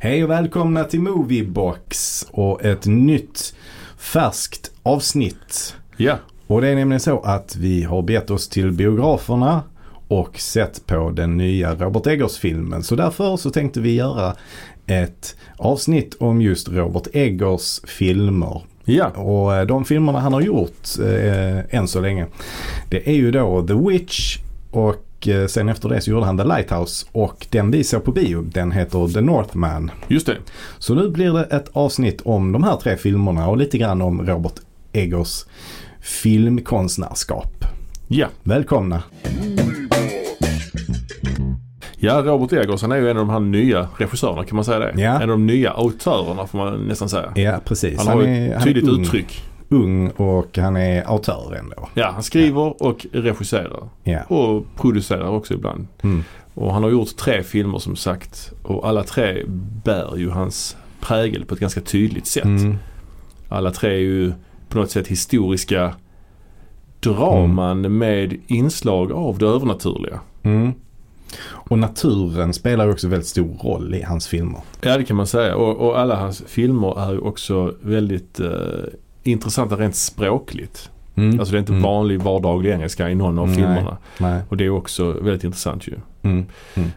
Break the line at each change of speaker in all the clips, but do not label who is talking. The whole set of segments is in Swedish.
Hej och välkomna till Moviebox och ett nytt färskt avsnitt.
Ja,
Och det är nämligen så att vi har bett oss till biograferna och sett på den nya Robert Eggers-filmen. Så därför så tänkte vi göra ett avsnitt om just Robert Eggers filmer.
ja,
Och eh, de filmerna han har gjort eh, än så länge. Det är ju då The Witch och eh, sen efter det så gjorde han The Lighthouse och den vi såg på bio den heter The Northman.
just det.
Så nu blir det ett avsnitt om de här tre filmerna och lite grann om Robert Eggers filmkonstnärskap.
Ja.
Välkomna!
ja, Robert Eggers han är ju en av de här nya regissörerna kan man säga det.
Ja.
En av de nya autörerna får man nästan säga.
Ja precis.
Han har ju
är-
ett tydligt
är ung,
uttryck.
ung och han är autör ändå.
Ja, han skriver och regisserar.
Ja.
Och producerar också ibland.
Mm.
Och han har gjort tre filmer som sagt. Och alla tre bär ju hans prägel på ett ganska tydligt sätt.
Mm.
Alla tre är ju på något sätt historiska draman med inslag av det övernaturliga.
Mm. Och naturen spelar ju också väldigt stor roll i hans filmer.
Ja det kan man säga och, och alla hans filmer är ju också väldigt eh, intressanta rent språkligt.
Mm.
Alltså det är inte
Mm.
vanlig vardaglig engelska i någon av
Nej.
filmerna.
Nej.
Och det är också väldigt intressant ju.
Mm.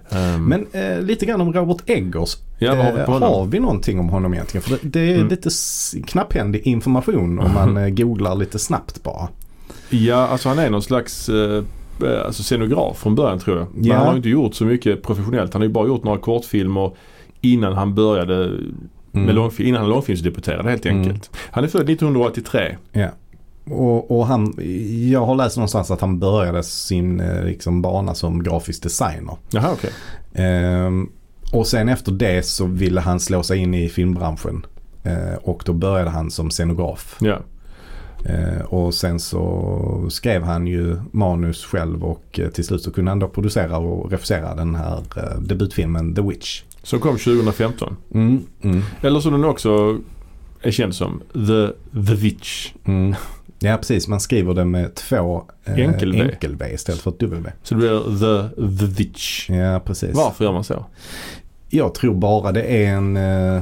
Ehm,
Men eh, lite grann om Robert Eggers.
ja, vad har vi
Eh,
på honom?
har vi någonting om honom egentligen? För det, det är
Mm.
lite s- knapphändig information om man eh, googlar lite snabbt bara.
Ja alltså han är någon slags eh, eh, alltså scenograf från början tror jag. Men
Ja.
han har ju inte gjort så mycket professionellt. Han har ju bara gjort några kortfilmer innan han började med långfilm, innan han långfilmsdebuterade helt
Mm.
enkelt. Han är född 1983.
Ja. Och, och han, jag har läst någonstans att han började sin eh, liksom, bana som grafisk designer.
Jaha okej.
Ehm, och sen efter det så ville han slå sig in i filmbranschen. Eh, och då började han som scenograf.
Ja.
Eh, och sen så skrev han ju manus själv och eh, till slut så kunde han då producera och regissera den här eh, debutfilmen The Witch.
Som kom 2015.
Mm, mm,
Eller som den också är känd som, The, the Witch.
mm. Ja precis, man skriver det med två eh,
Enkel V.
enkel-v istället för ett dubbel-v.
Så det blir The, the Witch.
Ja precis.
Varför gör man så?
Jag tror bara det är en eh,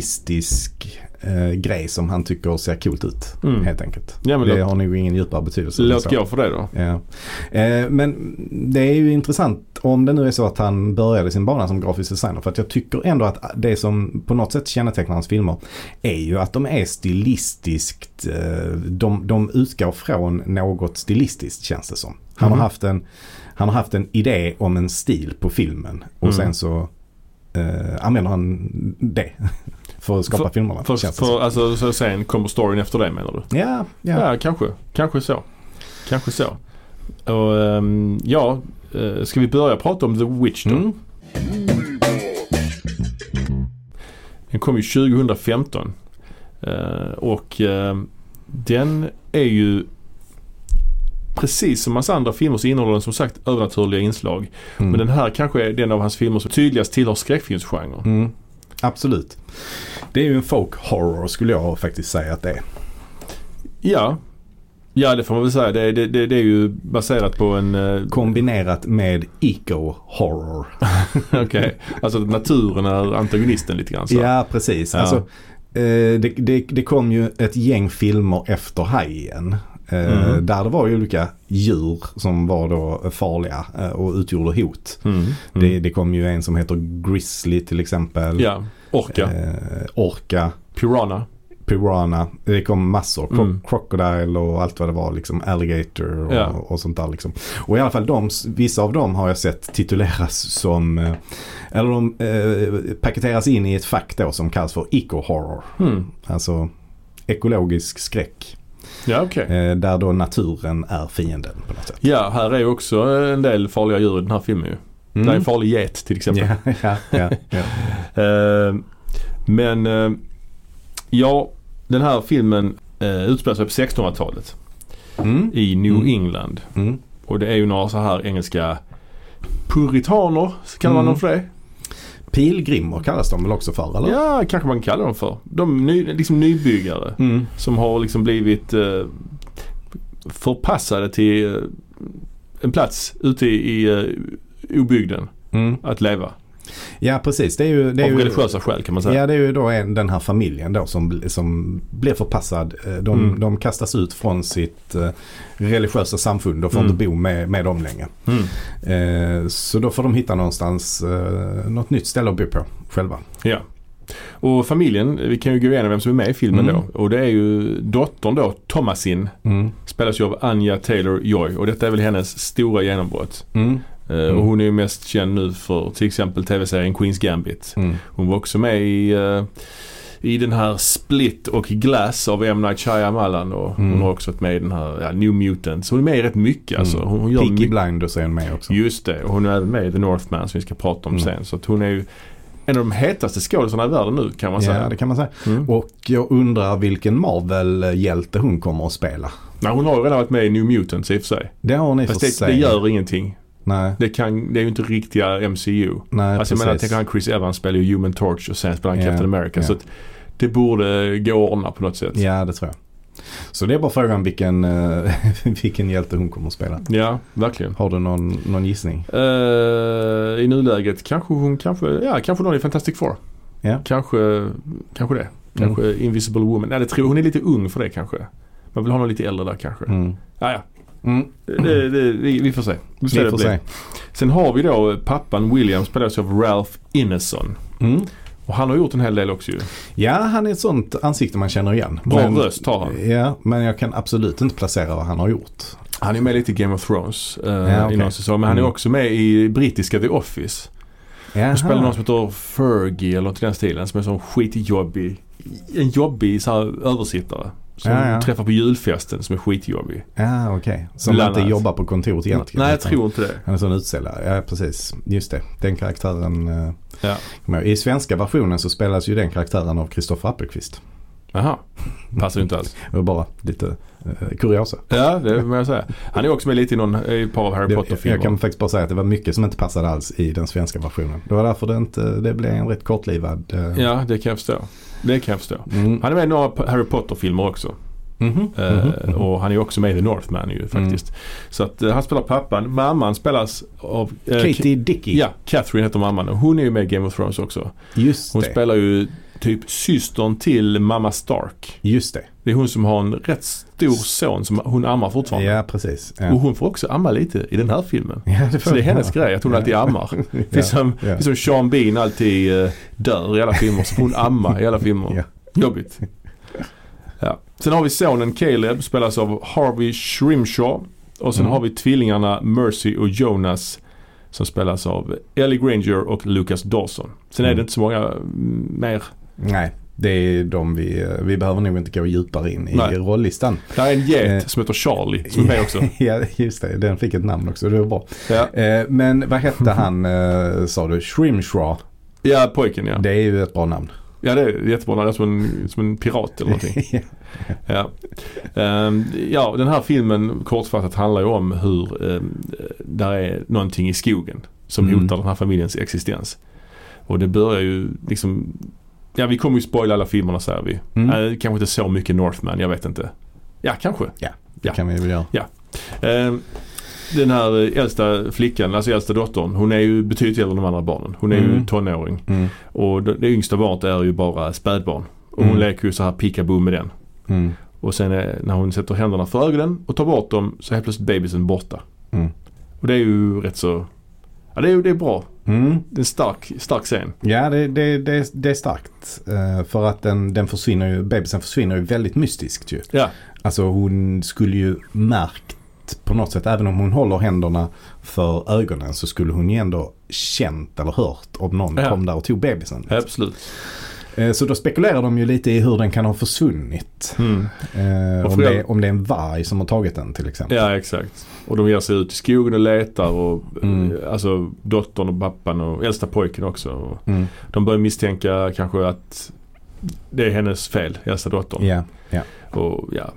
stilistisk eh, grej som han tycker ser coolt ut.
Mm.
Helt enkelt.
Ja, men
det
låt-
har nog ingen djupare betydelse. än
Låt
så.
gå för det då.
Ja. Eh, men det är ju intressant om det nu är så att han började sin bana som grafisk designer. För att jag tycker ändå att det som på något sätt kännetecknar hans filmer är ju att de är stilistiskt, eh, de, de utgår från något stilistiskt känns det som. Han,
Mhm.
har, haft en, han har haft en idé om en stil på filmen och
Mm.
sen så eh, använder han det för att skapa filmerna.
För,
känns det som.
för, alltså, så sen kommer storyn efter det menar du?
Ja, ja.
Ja, kanske. Kanske så. Kanske så. Och, ehm, ja, eh, ska vi börja prata om The Witch då?
Mm.
Den kom ju 2015. Eh, och eh, den är ju precis som hans andra filmer så innehåller den som sagt övernaturliga inslag.
Mm.
Men den här kanske är den av hans filmer som tydligast tillhör skräckfilmsgenren.
Mm, absolut. Det är ju en folk horror skulle jag faktiskt säga att det är.
Ja. Ja det får man väl säga. Det, det, det, det är ju baserat på en... eh,
Kombinerat med eco-horror.
Okej. Alltså att naturen är antagonisten lite grann så.
Ja, precis.
Ja.
Alltså, eh, det, det, det kom ju ett gäng filmer efter Hajen. Eh,
Mm.
Där det var ju olika djur som var då farliga eh, och utgjorde hot.
Mm. Mm.
Det, det kom ju en som heter Grizzly till exempel.
ja. Orka.
Eh, orca.
Piranha.
Piranha. Det kom massor. Cro-
Mm.
Crocodile och allt vad det var. Liksom, alligator och,
Ja.
och sånt där. Liksom. Och i alla fall de, vissa av dem har jag sett tituleras som, eh, eller de eh, paketeras in i ett fack då som kallas för eco-horror.
Mm.
Alltså ekologisk skräck.
Ja okej.
Eh, där då naturen är fienden på något sätt.
Ja här är ju också en del farliga djur i den här filmen ju.
Mm.
Det är en farlig get till exempel.
Ja, ja, ja, ja.
Eh, men eh, ja, den här filmen eh, utspelar sig på 1600-talet
Mm,
i New
Mm.
England.
mm.
Och det är ju några så här engelska puritaner, så kallar man
Mm.
dem för det?
Pilgrimer kallas de väl också för? Eller?
Ja, kanske man kallar dem för. De ny, liksom nybyggare
Mm.
som har liksom blivit eh, förpassade till eh, en plats ute i, i eh, obygden
Mm.
att leva.
Ja precis. Det är ju, det är
Av
ju,
religiösa skäl kan man säga.
ja, det är ju då en, den här familjen då som, bl- som blir förpassad. Eh, De,
Mm.
de kastas ut från sitt eh, religiösa samfund och får
Mm.
inte bo med, med dem längre.
Mm.
Eh, så då får de hitta någonstans, eh, något nytt ställe att bo på själva.
Ja. Och familjen, vi kan ju gå igenom vem som är med i filmen
Mm.
då. Och det är ju dottern då, Thomasin,
Mm.
spelas ju av Anja Taylor-Joy. Och detta är väl hennes stora genombrott.
Mm.
Eh, Och hon är ju mest känd nu för till exempel tv-serien Queens Gambit.
Mm.
Hon var också med i, eh, i den här Split och Glass av M. Night Shyamalan. Och
Mm.
hon har också varit med i den här ja, New Mutants. Så hon är med i rätt mycket alltså.
Mm.
Hon, hon gör
Peaky
mycket.
Blinders är en med också.
Just det, och hon är även med i The Northman som vi ska prata om
Mm.
sen. Så att hon är ju en av de hetaste skådisarna i världen nu kan man
Ja,
säga.
det kan man säga.
Mm.
Och jag undrar vilken Marvel-hjälte hon kommer att spela.
Nej, hon har ju redan varit med i New Mutants i och för sig.
Det har ni för
Fast det,
sig.
det gör ingenting.
Nej,
Det, kan, det är ju inte riktiga MCU.
nej
alltså jag menar,
precis.
tänk han Chris Evans spelar ju Human Torch och sen spelar han
Ja,
Captain America.
ja.
Så att det borde gå att ordna på något sätt.
Ja, det tror jag. Så det är bara frågan vilken, eh, vilken hjälte hon kommer att spela.
Ja, verkligen.
Har du någon, någon gissning?
Eh, I nuläget kanske hon kanske, ja kanske någon i Fantastic Four.
Ja. Mm.
Kanske, kanske det. Kanske Invisible Woman. Nej, det tror jag. Hon är lite ung för det kanske. Man vill ha någon lite äldre där kanske.
Mm.
Ja, ja.
Mm.
Det, det, vi, vi får se. Vi
Vi får se.
Sen har vi då pappan William spelas av Ralph Ineson.
Mm.
Och han har gjort en hel del också ju.
Ja, han är ett sånt ansikte man känner igen.
Bra röst har han.
Ja, men jag kan absolut inte placera vad han har gjort.
Han är med lite i Game of Thrones eh,
Ja, okej.
i någon säsong. Men han är
Mm.
också med i brittiska The Office.
Jaha.
Han spelar någon som heter Fergie eller något i den stilen som är sån skitjobbig. En jobbig så här, översittare. Som
Ja, ja.
träffar på julfesten som är skitjobbig.
Ja, okej. Som
Bland
inte
annat.
jobbar på kontoret egentligen.
Nej jag
utan
tror inte det.
Han är sån utställare. Ja, precis. Just det. Den karaktären. eh,
Ja.
kommer jag ihåg. I svenska versionen så spelas ju den karaktären av Kristoffer Appelqvist.
Jaha. Passar ju inte alls.
Det var bara lite eh, kuriosa.
Ja det får jag säga. Han är också med lite i, någon, i ett par av Harry
Det,
Potter-filmer.
jag kan faktiskt bara säga att det var mycket som inte passade alls i den svenska versionen. Det var därför det, inte, det blev en rätt kortlivad... eh,
Ja det kan jag förstå. Det kan jag förstå.
Mm.
Han är med i några Harry Potter-filmer också.
Mhm.
Eh,
Mhm. Mm.
Och han är ju också med i The Northman ju faktiskt. Så att eh, han spelar pappan. Mamman spelas av... eh, Ka-
Katie Dickey.
Ja, Catherine heter mamman och hon är ju med i Game of Thrones också.
Just
Hon
det.
spelar ju typ systern till mamma Stark.
Just det.
Det är hon som har en rätt stor son som hon ammar fortfarande.
Ja, precis. Ja.
Och hon får också amma lite i den här filmen.
Ja, det får
Så det är hennes
jag.
grej att hon
Ja.
alltid ammar. Det är som,
Ja.
det är som Sean Bean alltid eh, dör i alla filmer så får hon amma i alla filmer.
Ja.
Jobbigt. Ja. Sen har vi sonen Caleb spelas av Harvey Shrimshaw. Och sen
Mm.
har vi tvillingarna Mercy och Jonas som spelas av Ellie Granger och Lucas Dawson. Sen är det
Mm.
inte så många mm, mer.
Nej, det är de vi... eh, Vi behöver nog inte gå djupare in i
Nej.
rollistan.
Där är en get
Eh.
som heter Charlie som är med också.
ja, just det. Den fick ett namn också. Det var bra.
Ja,
Eh, men vad hette han, eh, sa du? Shrimshraw.
ja pojken ja.
Det är ju ett bra namn.
Ja det är jättebra. Han är som en, som en pirat eller någonting. Ja. Ehm, ja, den här filmen kortfattat handlar ju om hur um, där är någonting i skogen som
Mm.
hotar den här familjens existens. Och det börjar ju liksom Ja vi kommer ju spoila alla filmerna säger vi.
Mm.
Eh, kanske inte så mycket Northman, jag vet inte. Ja, kanske.
Det kan vi väl göra.
Ehm, den här eh, äldsta flickan, alltså äldsta dottern, hon är ju betydligt äldre än de andra barnen. Hon är ju
Mm.
tonåring.
Mm.
Och det, det yngsta barnet är ju bara spädbarn. Och hon
Mm.
leker ju så här pickaboo med den.
Mm.
Och sen eh, när hon sätter händerna för ögonen och tar bort dem så är helt plötsligt bebisen borta.
Mm.
Och det är ju rätt så... Ja det är ju det är bra.
Mm.
Det är en stark, stark scen.
Ja, det, det, det, är- det är starkt. Eh, för att den, den försvinner ju, bebisen försvinner ju väldigt mystiskt ju.
Ja.
Alltså hon skulle ju märkt på något sätt, även om hon håller händerna för ögonen så skulle hon ju ändå känt eller hört om någon
Ja.
kom där och tog bebisen.
Absolut.
Eh, Så då spekulerar de ju lite i hur den kan ha försvunnit.
Mm.
Eh,
Och
om,
för-
det, om det är en varg som har tagit den till exempel.
Ja exakt. Och de ger sig ut i skogen och letar och
Mm.
eh, alltså dottern och pappan och äldsta pojken också. Och
Mm.
de börjar misstänka kanske att det är hennes fel, äldsta dottern.
Ja.
Och, ja.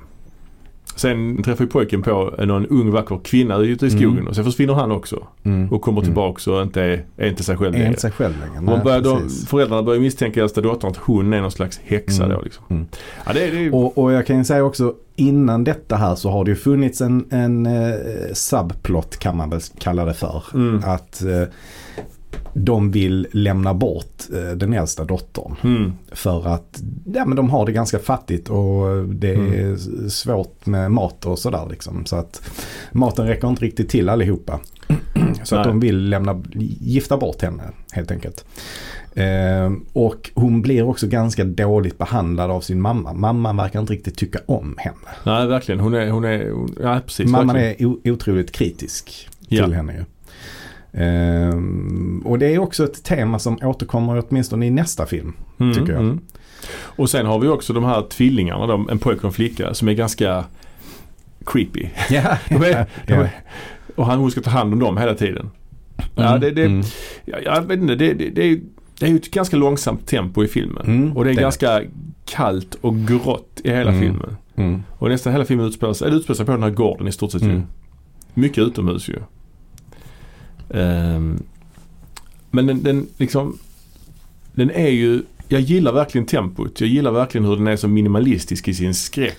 Sen träffar ju pojken på någon ung vacker kvinna ute i skogen
Mm.
och sen försvinner han också.
Mm.
Och kommer
Mm.
tillbaka och inte är, är inte sig själv
Är
längre.
inte sig själv längre.
Man
Nej,
börjar, de,
precis.
föräldrarna börjar misstänka äldsta dottern att hon är någon slags häxa
Mm.
då liksom.
Mm.
Ja, det, det,
Och, och jag kan ju säga också innan detta här så har det ju funnits en, en eh, subplot kan man väl kalla det för.
mm.
Att eh, de vill lämna bort eh, den äldsta dottern.
Mm.
För att ja, men de har det ganska fattigt och det är
Mm.
s- svårt med mat och sådär. Liksom. Så att maten räcker inte riktigt till allihopa. Så att
Nej.
de vill lämna, gifta bort henne helt enkelt. Eh, och hon blir också ganska dåligt behandlad av sin mamma. Mamman verkar inte riktigt tycka om henne.
Nej, verkligen. Hon är, hon är, hon, nej precis.
Mamman
verkligen.
är o- otroligt kritisk till
Ja.
henne ju. Ehm, och det är också ett tema som återkommer åtminstone i nästa film.
Mm,
tycker jag.
mm. Och sen har vi också de här tvillingarna, de, en pojke och en flicka, som är ganska creepy.
Ja,
De är, de är, och han, hon ska ta hand om dem hela tiden. Ja, det, det,
Mm.
jag, jag vet inte, det, det, det, är, det är ju ett ganska långsamt tempo i filmen.
Mm,
och det är
det är
ganska kallt och grått i hela
Mm.
filmen.
Mm.
Och nästan hela filmen utspelar sig, eller utspelar sig på den här gården i stort sett ju.
Mm.
Mycket utomhus ju. Ehm, men den, den liksom Den är ju Jag gillar verkligen tempot. Jag gillar verkligen hur den är så minimalistisk i sin skräck.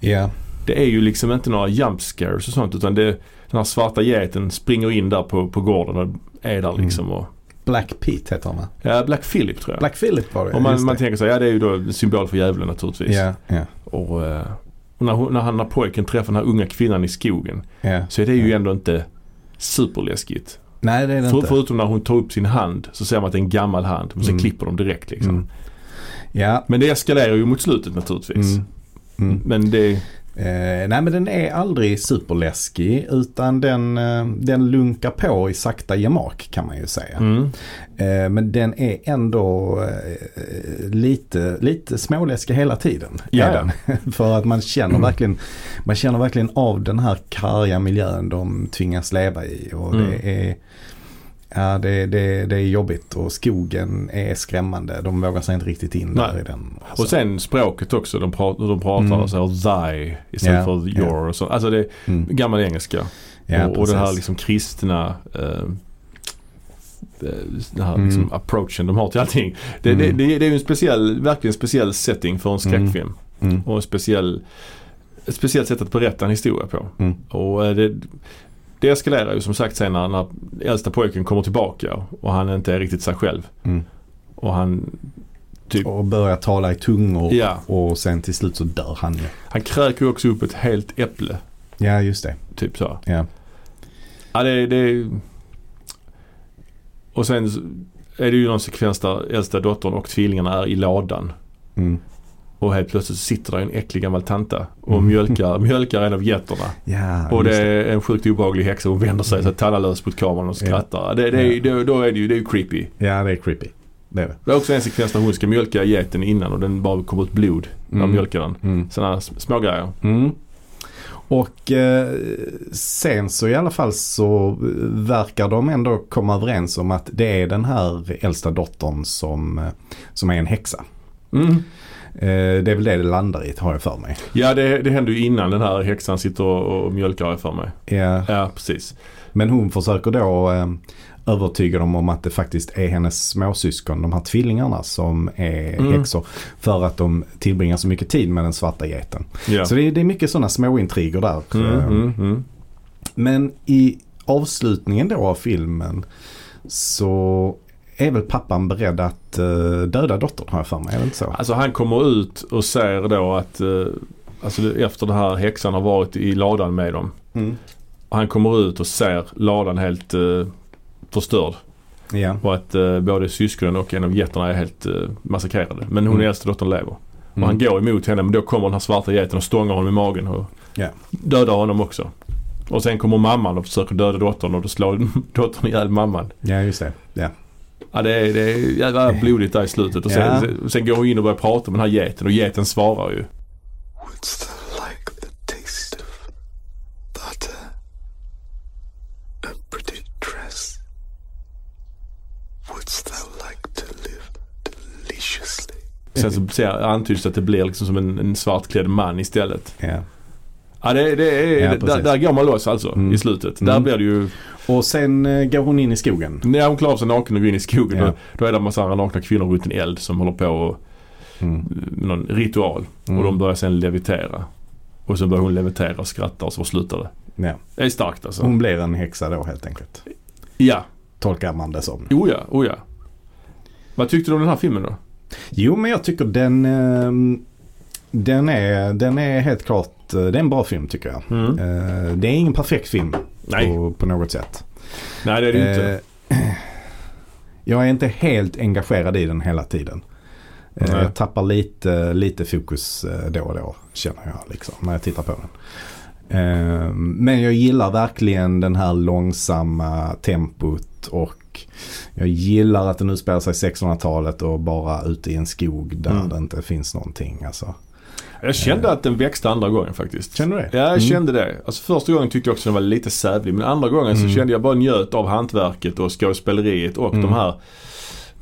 Ja.
Det är ju liksom inte några jump scares och sånt utan det Den här svarta geten springer in där på, på gården och är där
Mm.
liksom och
Black Pete heter han va?
Ja, Black Philip tror jag.
Black Philip var det
och man,
just
man
det.
tänker sig, ja det är ju då en symbol för djävulen naturligtvis.
Ja, ja,
Och, eh, och när, hon- när, han, när pojken träffar den här unga kvinnan i skogen
ja.
så är det ju ändå inte superläskigt.
Nej det är det
För,
inte.
förutom när hon tar upp sin hand så ser man att det är en gammal hand. Men sen
Mm.
klipper de direkt liksom.
Mm. Ja.
Men det eskalerar ju mot slutet naturligtvis.
Mm. Mm.
Men det...
Eh, nej men den är aldrig superläskig utan den, eh, den lunkar på i sakta gemak kan man ju säga.
Mm.
Eh, men den är ändå eh, lite, lite småläskig hela tiden.
Ja, Mm.
Är den. För att man känner, verkligen, man känner verkligen av den här karga miljön de tvingas leva i. Och
Mm.
det, är, ja, det, det, det är jobbigt och skogen är skrämmande. De vågar sig inte riktigt in där
Nej.
i den.
Och sen språket också. De pratar, de pratar
Alltså. Mm.
så här thy istället
Ja,
för your och så. Alltså det är
Mm.
gammal engelska.
Ja,
och, och den här
precis.
liksom kristna eh, den här
Mm.
liksom approachen de har till allting. Det, det,
Mm.
det, det är ju en speciell, verkligen en speciell setting för en skräckfilm.
Mm.
Och en speciell, ett speciellt sätt att berätta en historia på.
Mm.
Och eh, det, det eskalerar ju som sagt sen när, när äldsta pojken kommer tillbaka och han inte är riktigt sig själv.
Mm.
Och han, typ,
Och börjar tala i tungor.
ja,
Och sen till slut så dör han ju.
han kräker ju också upp ett helt äpple.
Ja just det.
Typ så.
Ja.
Ja, det, det Och sen så är det ju någon sekvens där äldsta dottern och tvillingarna är i lådan.
Mm.
Och helt plötsligt sitter där en äcklig gammal tanta och
Mm.
mjölkar, mjölkar en av getterna.
Ja,
Och det
just Mm.
är en sjukt obehaglig häxa. Hon vänder sig så tandalös mot kameran och skrattar. Det, det, är- då, då är det ju, det är ju creepy.
det. ja det är creepy. Det är det.
Det är också en sekvens där hon ska mjölka geten innan och den bara kommer ut blod när
Mm.
mjölkar den.
Mm.
Sådana små grejer.
Mm. Och eh, sen så i alla fall så eh, verkar de ändå komma överens om att det är den här äldsta dottern som, eh, som är en häxa.
Mm.
Eh, det är väl det det landar i har jag för mig.
Ja, det, det händer ju innan den här häxan sitter och, och mjölkar har jag för mig.
Ja,
Ja, precis.
men hon försöker då eh, övertyga dem om att det faktiskt är hennes småsyskon, de här tvillingarna som är
Mm.
häxor. För att de tillbringar så mycket tid med den svarta geten.
Ja.
Så det är, det är mycket sådana småintriger där.
Mm,
Eh,
mm, mm.
Men i avslutningen då av filmen så är väl pappan beredd att eh, döda dottern har jag för mig, är det inte så?
Alltså han kommer ut och säger då att eh, Alltså det- efter den här häxan har varit i ladan med dem.
Mm.
Och han kommer ut och ser ladan helt eh, förstörd.
Ja.
Och att eh, både syskonen och en av getterna är helt eh, massakrerade. Men hon
Mm.
äldsta dottern lever. Och
Mm.
han går emot henne men då kommer den här svarta geten och stångar honom i magen och
Ja.
dödar honom också. Och sen kommer mamman och försöker döda dottern och då slår dottern ihjäl mamman.
ja, just det. Ja.
Ja det är, det är jävla blodigt där i slutet. Och sen,
Ja.
sen, sen går hon in och börjar prata med den här geten och geten svarar ju.
What's the like the taste of butter? A pretty dress. Wouldst thou like to live deliciously?
Sen så ser, antyds det att det blir liksom som en, en svartklädd man istället.
Ja.
Ja, det, det är,
Ja,
där,
precis.
där går man loss alltså
Mm.
i slutet.
Mm.
Där blir det ju,
Och sen eh, går hon in i skogen.
när hon klarar av sig naken och går in i skogen
Ja.
då, då är det en massa andra nakna kvinnor runt en eld som håller på och,
Mm.
med någon ritual.
Mm.
Och de börjar sen levitera. Och så börjar hon levitera och skratta och så slutar det.
Ja.
Det är starkt alltså.
Hon blir en häxa då helt enkelt.
Ja,
tolkar man det som.
Oh ja, oh ja. Vad tyckte du om den här filmen då?
Jo, men jag tycker den, eh, den, är, den är helt klart, eh, det är en bra film tycker jag.
Mm.
Eh, det är ingen perfekt film
Nej.
på, på något sätt.
Nej det är det ju inte.
Eh, Jag är inte helt engagerad i den hela tiden. Eh,
Nej.
Jag tappar lite, lite fokus eh, då och då känner jag liksom när jag tittar på den. Eh, Men jag gillar verkligen den här långsamma tempot och jag gillar att den utspelar sig 1600-talet och bara ute i en skog där
Mm.
det inte finns någonting. Alltså.
Jag kände att den växte andra gången faktiskt.
Känner du det?
Ja, jag
Mm.
kände det. Alltså första gången tyckte jag också den var lite sävlig. Men andra gången
Mm.
så kände jag bara njöt av hantverket och skådespeleriet och
Mm.
de här.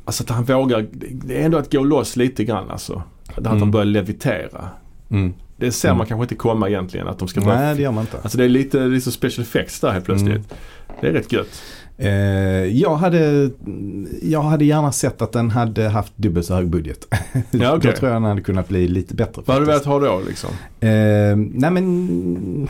Alltså att han vågar. Det är ändå att gå loss lite grann alltså. Att
Mm.
han börjar levitera.
Mm.
Det ser
Mm.
man kanske inte komma egentligen. Att de ska börja...
Nej, det gör man inte.
Alltså det är lite liksom special effects där helt plötsligt.
Mm.
Det är rätt gött.
Eh, jag, hade, jag hade gärna sett att den hade haft dubbelt så hög budget.
Ja, okej.
Då tror jag den hade kunnat bli lite bättre.
Vad hade du
faktiskt.
velat ha då liksom?
Eh, nej men...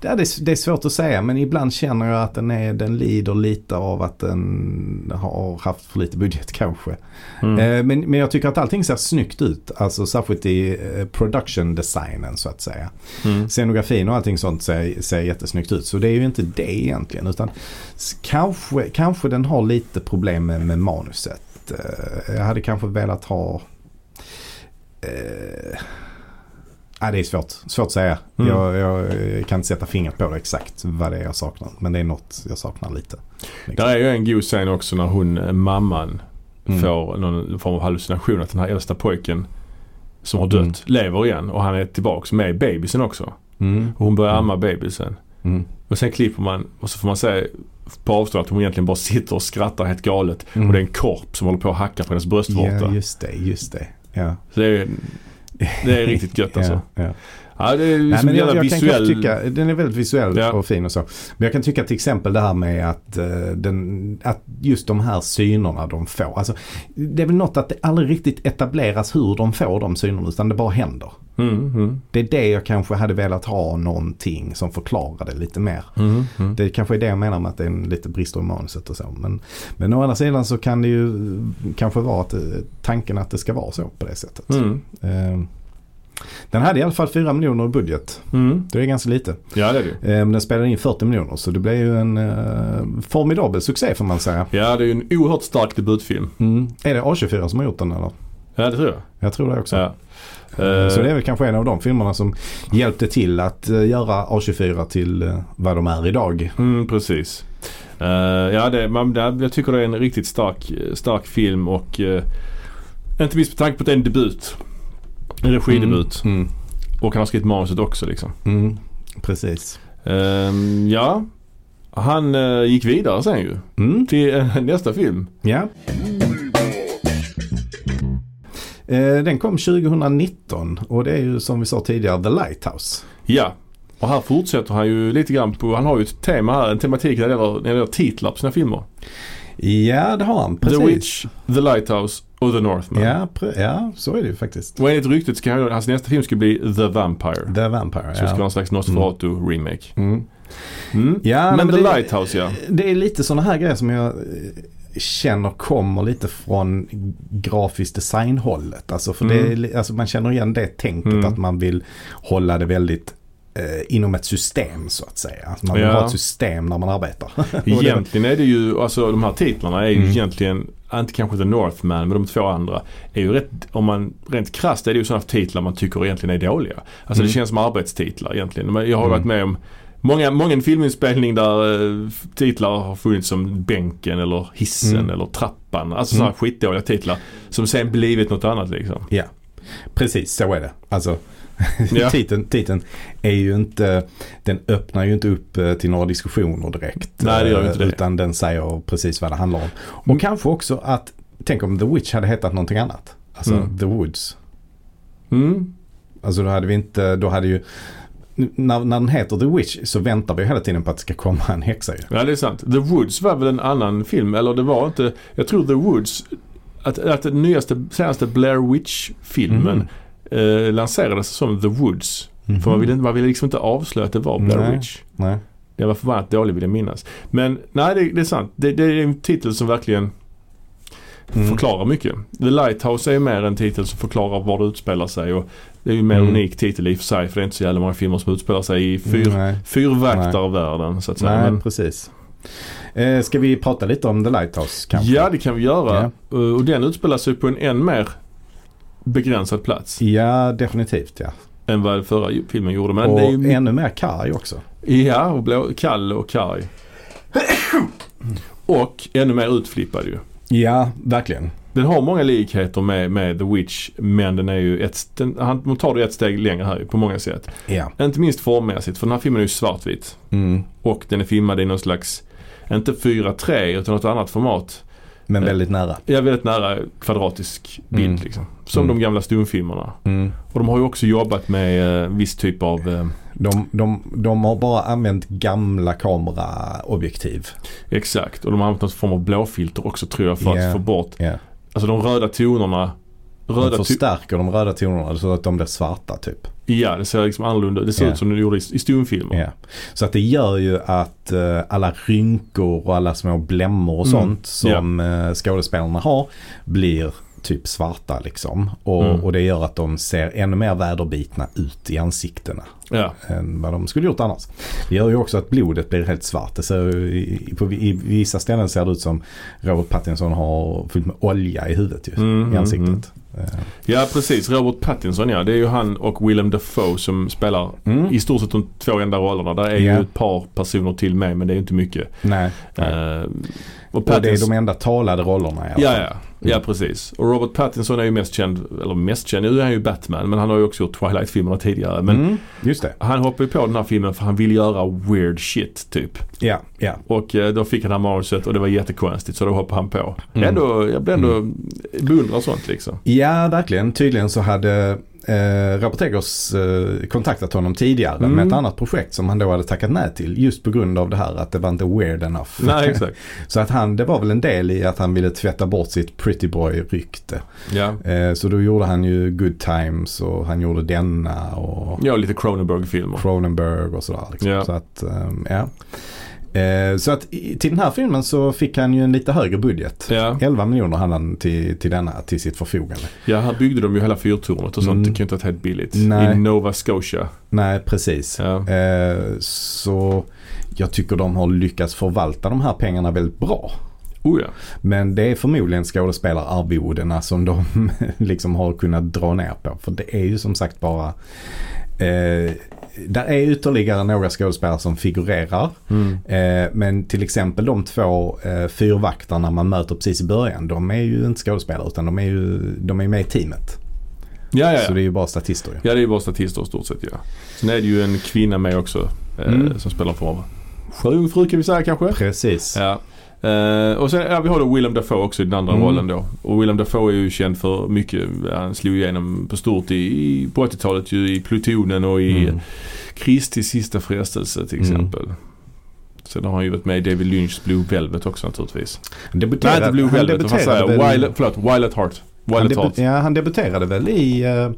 Det är, det är svårt att säga men ibland känner jag att den, är, den lider lite av att den har haft för lite budget kanske.
Mm.
Eh, men, men jag tycker att allting ser snyggt ut. Alltså särskilt i eh, production designen så att säga.
Mm.
Scenografin och allting sånt ser, ser jättesnyggt ut. Så det är ju inte det egentligen. Utan s- kanske, kanske den har lite problem med, med manuset. Eh, Jag hade kanske velat ha... Eh, ja, det är svårt. Svårt att säga.
Mm.
Jag, jag eh, kan inte sätta fingret på det exakt vad det är jag saknar. Men det är något jag saknar lite.
Där är ju en god scen också när hon, eh, mamman,
Mm.
får någon form av hallucination att den här äldsta pojken som har dött
Mm.
lever igen och han är tillbaks med babisen också.
Mm.
Och hon börjar
Mm.
amma babisen.
Mm.
Och sen klipper man och så får man se på avstånd att hon egentligen bara sitter och skrattar helt galet. Och det är en korp som håller på att hacka på hennes bröstvårta.
Mm. Ja, just det. Just det. Ja.
Så det är, det är riktigt gött alltså.
Ja, ja.
Ja, det
Nej,
är liksom
men
en
jag,
jävla
jag kan
visuell...
kanske tycka, den är väldigt visuell
Ja.
och fin och så. Men jag kan tycka till exempel det här med att, eh, den, att just de här synerna de får. Alltså, det är väl något att det aldrig riktigt etableras hur de får de synerna utan det bara händer.
Mm, mm,
Det är det jag kanske hade velat ha någonting som förklarade lite mer.
mm, mm.
Det kanske är det jag menar med att det är en lite brister i manuset och så. Men, men å andra sidan så kan det ju kanske vara att, eh, tanken att det ska vara så på det sättet.
Mm,
Eh, Den hade i alla fall 4 miljoner i budget.
mm.
Det är ganska lite.
Ja, det är det ju.
Eh, Men den spelade in 40 miljoner så det blev ju en eh, formidabel succé får man säga.
Ja, det är ju en oerhört stark debutfilm.
Är det A24 som har gjort den eller?
Ja, det tror jag.
Jag tror det också.
Ja.
Eh, Så
Eh,
det är väl kanske en av de filmerna som hjälpte till att eh, göra A24 till eh, vad de är idag.
Mm, precis. Eh, ja, det, man, det, jag tycker det är en riktigt stark, eh, stark film och eh, inte minst med tanke på att det är en debut. En regidebut.
Mm. Mm.
Och han har skrivit manuset också liksom.
Mm. Precis.
Ehm, ja, han eh, gick vidare sen ju
Mm.
till eh, nästa film.
Ja. Eh, Den kom 2019 och det är ju som vi sa tidigare The Lighthouse.
Ja, och här fortsätter han ju lite grann på, han har ju ett tema här, en tematik när det gäller, när det gäller titlar på sina filmer.
Ja det har han. Precis.
The Witch, The Lighthouse och The Northman.
Ja, pre- ja så är det ju faktiskt.
Och enligt ryktet ska han, hans nästa film ska bli The Vampire.
The Vampire.
Så det ska vara
ja.
en slags Nosferatu-remake.
Mm.
Mm.
Ja, nej,
men,
men
The
det-
Lighthouse ja.
Det är lite sådana här grejer som jag eh, känner kommer lite från grafisk designhållet. Alltså för det är, li- alltså man känner igen det tänket
Mm.
att man vill hålla det väldigt eh, inom ett system så att säga. Att man vill
Ja.
ha ett system när man arbetar. Och det-
Egentligen är det ju, alltså de här titlarna är ju
Mm.
egentligen, inte kanske The Northman men de två andra är ju rätt, om man rent krasst är det ju sådana titlar man tycker egentligen är dåliga. Alltså
Mm.
det känns som arbetstitlar egentligen. Men Jag har
Mm.
varit med om många, många en filminspelning där eh, titlar har funnits som Bänken eller Hissen
Mm.
eller Trappan. Alltså
Mm.
sådana skitdåliga titlar som sen blivit något annat liksom.
Ja, precis så är det. Alltså
Ja.
titeln, titeln är ju inte, den öppnar ju inte upp eh, till några diskussioner direkt.
Nej, det gör ju
Eh,
inte det.
Utan den säger precis vad det handlar om. Och
Mm.
kanske också att, tänk om The Witch hade hetat någonting annat. Alltså
Mm.
The Woods.
Mm.
Alltså då hade vi inte, då hade ju, när, när den heter The Witch så väntar vi hela tiden på att det ska komma en häxa ju.
Ja det är sant. The Woods var väl en annan film eller det var inte, jag tror The Woods, att, att den nyaste, senaste Blair Witch-filmen
Mhm.
eh, lanserades som The Woods. För man ville, man ville liksom inte avslöja att det var Blair
Mm-hmm. Nej.
Witch.
Nej.
Den var förbannat dålig vill jag minnas. Men nej, det, det är sant. Det, det är en titel som verkligen
Mm.
förklarar mycket. The Lighthouse är ju mer en titel som förklarar var det utspelar sig och det är ju en mer
Mm.
unik titel i och för sig för det är inte så jävla många filmer som utspelar sig i fyr,
Nej,
fyrväktarvärlden så att säga.
Mm. nej
Men,
precis. Eh, ska vi prata lite om The Lighthouse kanske?
ja, det kan vi göra. Uh, Och den utspelar sig på en än mer begränsad plats
Ja, definitivt ja.
än vad förra ju- filmen gjorde. Men
och
det är ju,
ännu mer karg också.
Ja, och blå, kall och karg. och ännu mer utflippad ju.
Ja, verkligen.
Den har många likheter med, med The Witch men den är ju ett, den, han tar det ett steg längre här ju, på många sätt.
Ja.
Inte minst formmässigt för den här filmen är ju svartvit.
Mm.
Och den är filmad i någon slags, inte 4-3 utan något annat format.
Men
Eh.
väldigt nära.
Ja, väldigt nära kvadratisk bild
Mm.
liksom. Som
Mm.
de gamla stumfilmerna.
Mm.
Och de har ju också jobbat med eh, viss typ av, eh,
De, de, de har bara använt gamla kameraobjektiv.
exakt. Och de har använt någon form av blåfilter också tror jag för
Ja.
att få bort
Ja.
Alltså de röda tonerna.
De
Röda to-
förstärker de röda tonerna så att de blir svarta typ.
ja, det ser liksom annorlunda Det ser
Ja.
ut som de gjorde i, i stumfilmer.
Ja. Så att det gör ju att eh, alla rynkor och alla små blämmor och
Mm.
sånt som eh, skådespelarna har blir typ svarta liksom. Och,
Mm.
och det gör att de ser ännu mer väderbitna ut i ansiktena
Ja.
än vad de skulle gjort annars. Det gör ju också att blodet blir helt svart. Det ser, ju i, i- på, I vissa ställen ser det ut som Robert Pattinson har fyllt med olja i huvudet ju,
Mm, mm,
i ansiktet. Eh,
ja, precis. Robert Pattinson ja. Det är ju han och Willem Dafoe som spelar
Mm.
i stort sett de två enda rollerna. Där är
Ja.
ju ett par personer till med men det är ju inte mycket.
Nej. nej.
Eh, och
Och det är
Pattinson...
de enda talade rollerna i alla
Ja,
fall.
ja. Ja, precis. Och Robert Pattinson är ju mest känd, eller mest känd, nu är han ju Batman men han har ju också gjort Twilight-filmerna tidigare. Men
Mm, just det.
han hoppade ju på den här filmen för han ville göra weird shit typ.
Ja, ja.
Och eh, då fick han det här manuset och det var jättekonstigt så då hoppade han på.
Mm.
Ändå, jag blir ändå beundrar sånt liksom.
Ja, verkligen. Tydligen så hade eh, Robert Eggers eh, kontaktat honom tidigare
Mm.
med ett annat projekt som han då hade tackat nej till. Just på grund av det här att det var inte weird enough.
Nej exakt.
så att han, det var väl en del i att han ville tvätta bort sitt pretty boy-rykte.
Ja.
Eh, så då gjorde han ju Good Times och han gjorde denna och
Ja, lite Cronenberg-filmer.
Cronenberg och sådär. Liksom.
Ja.
Så att, ehm, ja. Eh, så att i- till den här filmen så fick han ju en lite högre budget.
Ja.
11 miljoner hade han till, till denna, till sitt förfogande.
ja, här byggde de ju hela fyrtornet och sånt.
Mm.
Det kan ju inte ha varit helt billigt.
Nej.
I Nova Scotia.
Nej, precis.
Ja.
Eh, Så jag tycker de har lyckats förvalta de här pengarna väldigt bra.
Oh ja.
Men det är förmodligen skådespelararvodena som de liksom har kunnat dra ner på. För det är ju som sagt bara... Eh, där är ytterligare några skådespelare som figurerar. Eh, men till exempel de två eh, fyrvaktarna man möter precis i början. De är ju inte skådespelare utan de är ju de är med i teamet.
Ja, ja,
Så
ja.
det är ju bara statister ju.
Ja, det är ju bara statister i stort sett ja. Sen är det ju en kvinna med också. Eh,
Mm.
Som spelar för sjöjungfru kan vi säga kanske.
Precis.
Ja. Eh, och sen, ja, vi har då Willem Dafoe också i den andra
Mm.
rollen då. Och Willem Dafoe är ju känd för mycket. Han slog igenom på stort i, i, på 80-talet ju i Plutonen och i
Mm.
Kristi sista frestelse till
Mm.
exempel. Sen har han ju varit med i David Lynchs Blue Velvet också naturligtvis.
Han
Nej
debuterade-
inte Blue
han
Velvet, vad fan säger
debuterade
jag?
väl-
Violet, förlåt, Violet Heart.
Han,
Violet
debu-
Heart.
ja, han debuterade väl i eh,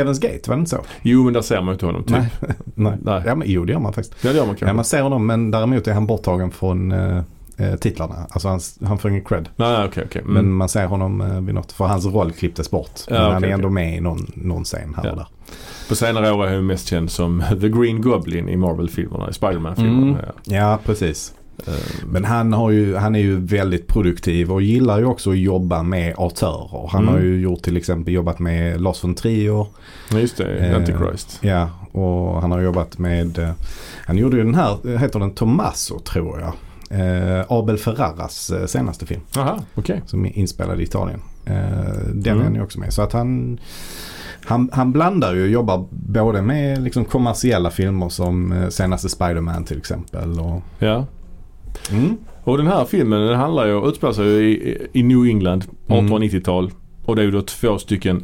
Heaven's Gate, var det inte så?
Jo men där ser man ju inte honom typ.
Nej. Nej.
Nej.
Ja, men, jo, det gör man faktiskt.
Ja det gör man kanske.
Ja, man ser honom, men däremot är han borttagen från eh, eh, titlarna. Alltså han, han får ingen cred.
Nej okej okej.
Men
Mm.
man ser honom eh, vid något, för hans roll klipptes bort.
Ja,
men han
okej,
är ändå
okej.
med i någon, någon scen här
Ja.
och där.
På senare år är han ju mest känd som The Green Goblin i Marvel-filmerna, i Spiderman-filmerna.
Mm.
Ja.
Ja, precis.
Eh,
Men han, har ju, han är ju väldigt produktiv och gillar ju också att jobba med autörer. Han
Mm.
har ju gjort till exempel jobbat med Lars von Trier.
Ja just det,
Eh,
Antichrist.
Ja, och han har jobbat med, eh, han gjorde ju den här, eh, heter den Tommaso tror jag. Eh, Abel Ferraras eh, senaste film
Aha, okej.
som är inspelad i Italien. Eh, den
Mm.
är han ju också med. Så att han, han, han blandar ju och jobbar både med liksom kommersiella filmer som eh, senaste Spider-Man till exempel. Och,
Ja.
mm,
Och den här filmen den handlar ju, utspelar sig ju i, i New England,
Mm.
1890-tal. Och det är ju då två stycken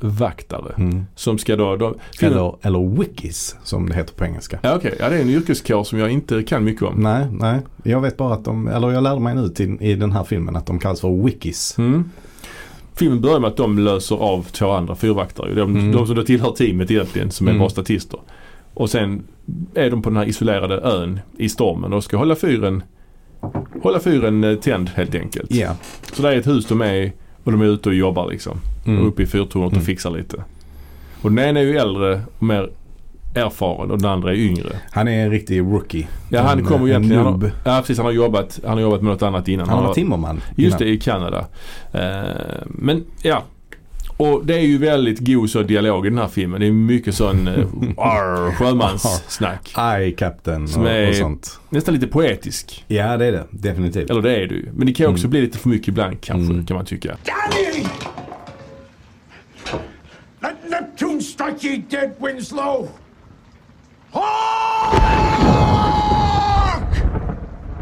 fyrvaktare.
mm.
Som ska då... då filmen,
Eller, eller Wikis som det heter på engelska.
Ja okej, ja, det är en yrkeskår som jag inte kan mycket om.
Nej, nej. Jag vet bara att de, eller jag lärde mig nu till, i den här filmen att de kallas för Wikis.
Mm. Filmen börjar med att de löser av två andra fyrvaktare. De,
Mm.
de som då tillhör teamet egentligen som är
Mm.
bara statister. Och sen är de på den här isolerade ön i stormen och ska hålla fyren hålla fyren eh, tänd helt enkelt.
Ja.
Så det är ett hus de är i och de är ute och jobbar liksom. Och
Mm.
uppe i fyrtornet
Mm.
och fixar lite. Och den ena är ju äldre och mer erfaren och den andra är yngre.
Han är en riktig rookie.
Ja han
En-
kommer ju
en
egentligen... Han
nubb.
har, ja precis, han har jobbat, han har jobbat med något annat innan.
Han
Han
var
har-
timmerman.
Just det, i Kanada. Eh, men ja. Och det är ju väldigt god så dialog i den här filmen. Det är mycket sån eh, arr, sjömanssnack.
Eye Captain
Som
och,
är-
och sånt.
Nästan lite poetisk.
Ja det är det. Definitivt.
Eller det är det ju. Men det kan ju också
Mm.
bli lite för mycket ibland kanske,
Mm.
kan man tycka.
Danny! Let Neptune strike ye dead, Winslow! Hark!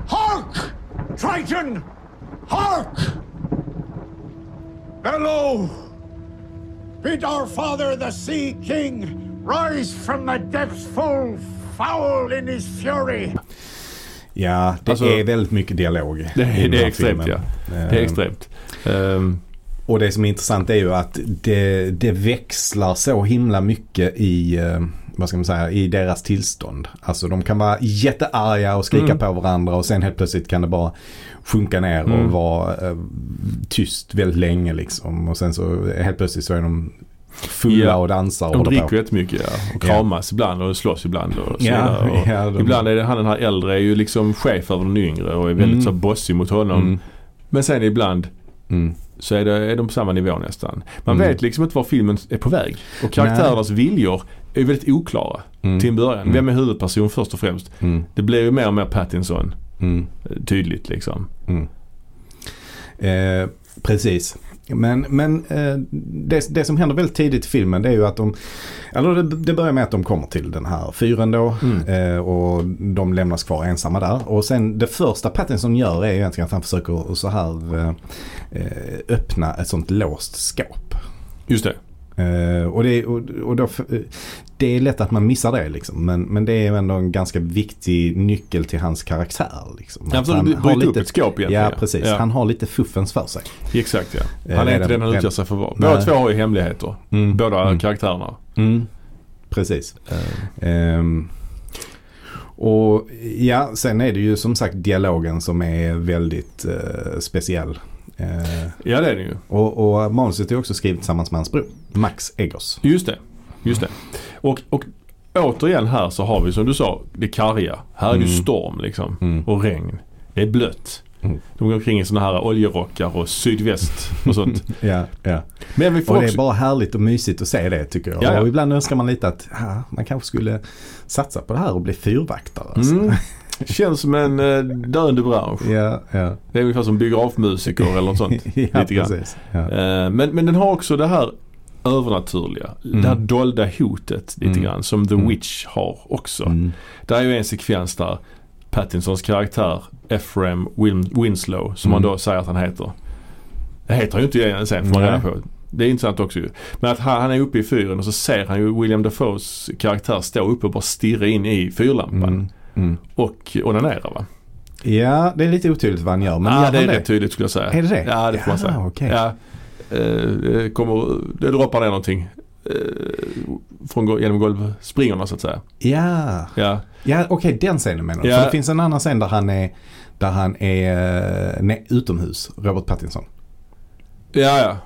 Hark! Triton! Hark! Bellow! Bid our father, the Sea King, rise from the depths full foul in his fury!
Ja, det
Alltså-
är väldigt mycket dialog.
Det
i
är,
den
det
här
är extremt
filmen.
ja. Det är
Ehm,
extremt. Ehm,
Och det som är intressant är ju att det, det växlar så himla mycket i, eh, vad ska man säga, i deras tillstånd. Alltså de kan vara jättearga och skrika
Mm.
på varandra och sen helt plötsligt kan det bara sjunka ner och
Mm.
vara eh, tyst väldigt länge liksom. Och sen så eh, helt plötsligt så är de fulla
Ja,
och dansar och
de
håller
dricker
på.
jättemycket ja. Och kramas ibland och slåss ibland och så
Ja,
vidare. och
ja, de-
Ibland är det han den här äldre är ju liksom chef över den yngre och är väldigt
Mm.
så här bossig mot honom.
Mm,
Men sen ibland
mm.
så är, det, är de på samma nivå nästan. Man
Mm.
vet liksom inte var filmen är på väg. Och karaktärernas viljor är väldigt oklara
Mm.
till en början.
Mm.
Vem är huvudperson först och främst?
Mm.
Det blir ju mer och mer Pattinson
Mm.
eh, tydligt liksom.
Mm. Eh, precis. Men, men eh, det, det som händer väldigt tidigt i filmen det är ju att de, eller det, det börjar med att de kommer till den här fyren då
Mm.
eh, och de lämnas kvar ensamma där. Och sen det första Pattinson gör är ju egentligen att han försöker att så här eh, eh, öppna ett sånt låst skåp.
Just det.
Eh, och det, och, och då, eh, det är lätt att man missar det liksom. Men, men det är ju ändå en ganska viktig nyckel till hans karaktär. Liksom.
Ja,
Att
för du bryter upp ett skåp egentligen.
Ja precis,
Ja.
han har lite fuffens för sig.
Exakt ja.
Eh,
Han är inte
redan-
den han utger
redan-
sig för att vara.
Nej.
Båda två har ju hemligheter.
Mm.
Båda
Mm.
karaktärerna.
Precis. Ehm, och ja, sen är det ju som sagt dialogen som är väldigt eh, speciell. Eh,
Ja det är det ju.
och, och manuset är också skrivet tillsammans med hans bror, Max Eggers.
Just det. Just det. Och, och återigen här så har vi som du sa det karga. Här är det ju storm liksom. Och regn. Det är blött.
Mm.
De går omkring i sådana här oljerockar och sydväst och sånt.
Ja, ja.
Men vi
Och
får
det är
också...
bara härligt och mysigt att se det tycker jag.
Ja, ja.
Och ibland önskar man lite att ja, man kanske skulle satsa på det här och bli fyrvaktare. Alltså.
Mm. Känns som en eh, döende bransch.
Ja, ja.
Det är ungefär som biografmusiker eller något sånt.
ja,
lite grann.
precis. Ja.
Eh, men, men den har också det här övernaturliga. Det här dolda hotet lite
Mm.
grann som The
Mm.
Witch har också.
Mm.
Det är ju en sekvens där Pattinsons karaktär Ephraim Win- Winslow som
Mm.
han då säger att han heter. Det heter han ju inte igen sen får man
Nej.
reda på. Det är intressant också ju. Men att han, han är uppe i fyren och så ser han ju William Dafoes karaktär stå uppe och bara stirra in i fyrlampan.
Mm. Mm.
Och onanera va?
Ja, det är lite otydligt vad han gör. Men
ja,
gör
det
han
är rätt tydligt skulle jag säga.
Är det det?
Ja, det får man
Ja,
säga.
okej.
Ja, eh, det kommer, det droppar ner någonting eh, från, go- genom golvspringorna så att säga.
Ja,
Ja,
ja okej den scenen menar du.
Ja.
För det finns en annan scen där han är, där han är eh, nej, utomhus, Robert Pattinson.
ja. ja.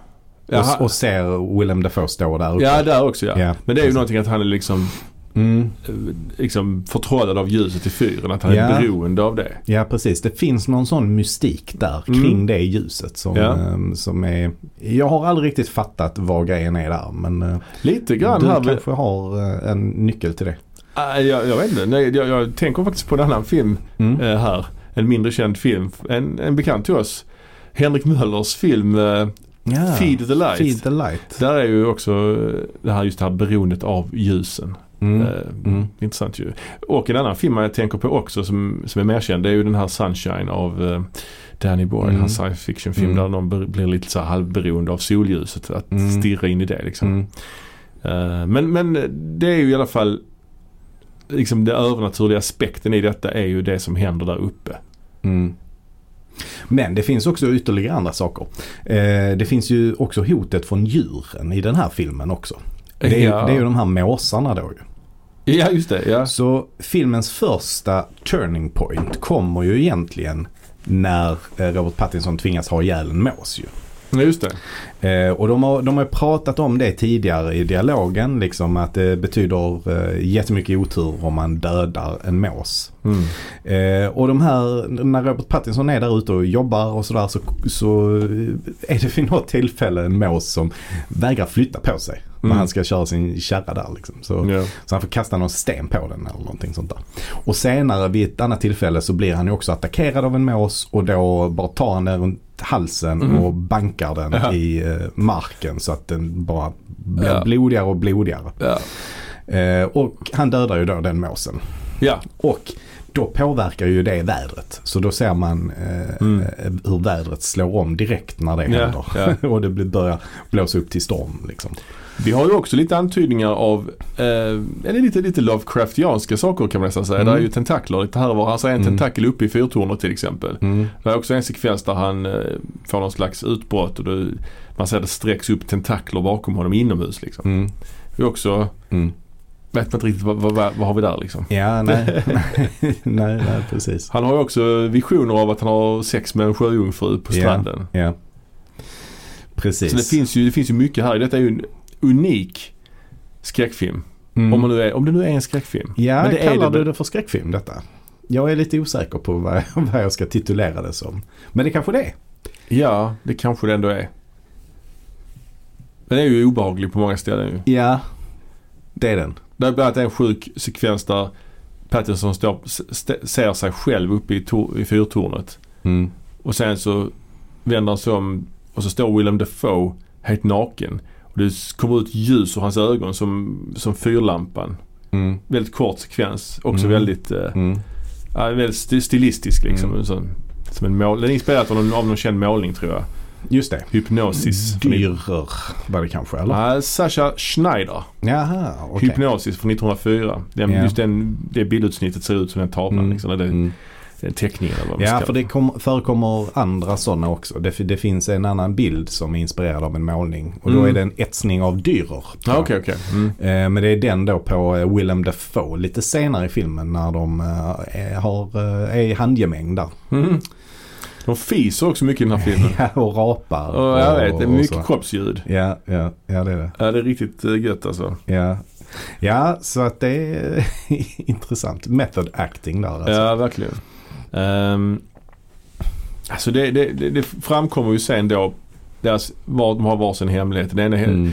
ja.
Och, och ser Willem Dafoe stå där uppe.
Ja, där också ja.
Ja,
Men det är ju
precis.
någonting att han är liksom,
Mm.
eh, liksom förtrollad av ljuset i fyren. Att han
Ja.
är beroende av det.
ja, precis. Det finns någon sån mystik där
Mm.
kring det ljuset som,
Ja.
eh, som är... Jag har aldrig riktigt fattat vad grejen är där men eh,
Lite
du
grann här. med-
kanske har eh, en nyckel till det.
Ah, jag, jag vet inte. Nej, jag, jag tänker faktiskt på en annan film
Mm.
eh, här. En mindre känd film. En, en bekant till oss. Henrik Möllers film eh,
Ja.
Feed the Light.
Ah, Feed the light.
Där är ju också eh, det här, just det här beroendet av ljusen.
Mm.
Eh,
Mm.
Intressant ju. Och en annan film jag tänker på också som, som är mer känd. Det är ju den här Sunshine av eh, Danny Boyle.
Mm.
Den här science fiction film
Mm.
där någon ber- blir lite så här halvberoende av solljuset. Att
Mm.
stirra in i det liksom.
Mm.
Eh, men, men det är ju i alla fall liksom den övernaturliga aspekten i detta är ju det som händer där uppe.
Mm. Men det finns också ytterligare andra saker. Eh, det finns ju också hotet från djuren i den här filmen också. Det är, ju-
Ja.
det är ju de här måsarna då ju.
Ja, just det. Ja.
Så filmens första turning point kommer ju egentligen när eh, Robert Pattinson tvingas ha ihjäl en mås ju.
ja, just det.
Eh, och de har, de har pratat om det tidigare i dialogen. Liksom att det betyder eh, jättemycket otur om man dödar en mås.
Mm.
Eh, och de här, när Robert Pattinson är där ute och jobbar och sådär så, så är det vid något tillfälle en mås som vägrar flytta på sig. När
Mm.
han ska köra sin kärra där liksom. Så,
Ja.
så han får kasta någon sten på den eller någonting sånt där. Och senare vid ett annat tillfälle så blir han ju också attackerad av en mås och då bara tar han den runt halsen
Mhm.
och bankar den
Ja.
i eh, marken så att den bara blir
Ja.
blodigare och blodigare.
Ja.
Eh, och han dödar ju då den måsen.
ja.
Och då påverkar ju det vädret. Så då ser man eh,
Mm.
eh, hur vädret slår om direkt när det
Ja,
händer. och det blir- börjar blåsa upp till storm liksom.
Vi har ju också lite antydningar av, eh, eller lite, lite Lovecraftianska saker kan man nästan säga.
Mm.
Det är ju tentakler lite här och var. Han ser en
Mm.
tentakel uppe i fyrtornet till exempel. Det är också en sekvens där han eh, får någon slags utbrott och det, man ser det sträcks upp tentakler bakom honom inomhus liksom.
Mm.
Det är också,
Mm.
vet man inte riktigt vad, vad, vad vad har vi där liksom.
Ja, nej. nej, nej, precis.
Han har ju också visioner av att han har sex med en sjöjungfru på
Ja.
stranden.
Ja. Precis.
Så det finns, ju, det finns ju mycket här. Detta är ju en unik skräckfilm.
Mm.
Om, man nu är, om det nu är en skräckfilm.
Ja,
Men det är
kallar
det-
du det för skräckfilm detta? Jag är lite osäker på vad, vad jag ska titulera det som. Men det kanske det är.
Ja, det kanske det ändå är. Den är ju obehaglig på många ställen ju.
Ja. Det är den.
Det är bland annat en sjuk sekvens där Pattinson står, s- st- ser sig själv uppe i, tor- i fyrtornet.
Mm.
Och sen så vänder han sig om och så står Willem Dafoe helt naken. Och det s- kommer ut ljus ur hans ögon som, som fyrlampan.
Mm.
Väldigt kort sekvens. Också
Mm.
väldigt, eh,
Mm.
ja, väldigt sti- stilistisk liksom.
Mm.
En sån, som en mål- Den är inspirerad av någon, av någon känd målning tror jag.
Just det.
Hypnosis. från
Dyrer var det kanske, eller?
Nej, Sasha Schneider.
Jaha, okej.
Hypnosis från 1904. Den,
Ja.
Just den, det bildutsnittet ser ut som den tavlan.
Mm.
Liksom, eller den,
Mm.
den teckningen eller vad man
Ja,
ska
för det kom, förekommer andra sådana också. Det, fi- det finns en annan bild som är inspirerad av en målning. Och då
Mm.
är det en etsning av Dürer.
Ja, okej, okej. Mm.
Eh, Men det är den då på eh, Willem Dafoe lite senare i filmen när de eh, är- har, eh, är i handgemäng där.
Mm. De fiser också mycket i den här filmen.
Ja, och rapar.
Och Mm. jag vet, det är
och
mycket
så.
kroppsljud.
Ja, ja, ja, det är det.
Ja, det är riktigt eh, gött alltså.
Ja, ja så att det är intressant. Method acting där alltså.
Ja, verkligen. Ehm, alltså det, det, det, det framkommer ju sen då deras, var, de har varsin hemlighet. Den ena,
Mm,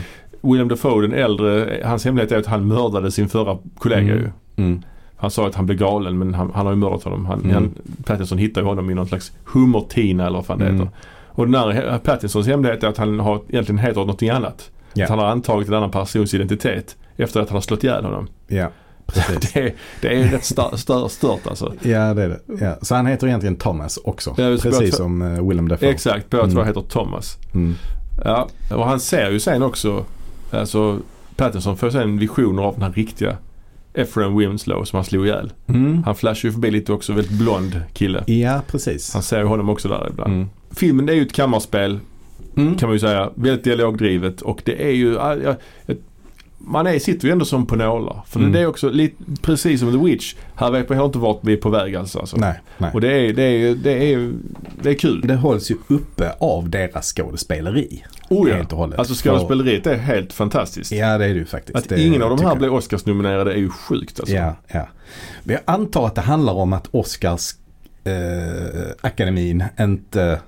William Dafoe, den äldre, hans hemlighet är att han mördade sin förra kollega
Mm.
ju.
mm,
Han sa att han blev galen men han, han har ju mördat honom. Han,
Mm.
han, Pattinson hittar ju honom i någon slags hummertina eller vad fan det
Mm.
heter. Och den här Pattinsons hemlighet är att han har, egentligen heter någonting annat.
Ja.
Att han har antagit en annan persons identitet efter att han har slått ihjäl honom.
ja, precis.
Det, är- det är rätt stör, stör, stört alltså.
Ja, det är det. Ja. Så han heter egentligen Thomas också.
Ja, just det.
precis som eh, Willem Dafoe.
Exakt, båda två
Mm.
heter Thomas.
Mm.
Ja, och han ser ju sen också, alltså Pattinson får sen visioner av den här riktiga Efren Winslow som han slog ihjäl.
Mm.
Han flashar ju förbi lite också, väldigt blond kille.
Ja, precis.
Han ser ju honom också där ibland.
Mm.
Filmen det är ju ett kammarspel
Mm.
kan man ju säga. Väldigt dialogdrivet och det är ju... ja, ja, ett- Man är, sitter ju ändå som på nålar. För
Mm.
det är också lite, precis som The Witch. Här vet man heller inte vart vi är på väg alltså. alltså.
Nej, nej.
Och det är, det är, det är, det är kul.
Det hålls ju uppe av deras skådespeleri.
Oh ja.
Helt och hållet.
Alltså skådespeleriet är helt fantastiskt.
Ja, det är det ju faktiskt.
Att
det,
ingen av de
tycker
här
jag.
blev Oscarsnominerade är ju sjukt alltså.
Ja, ja. Men jag antar att det handlar om att Oscars eh, akademin inte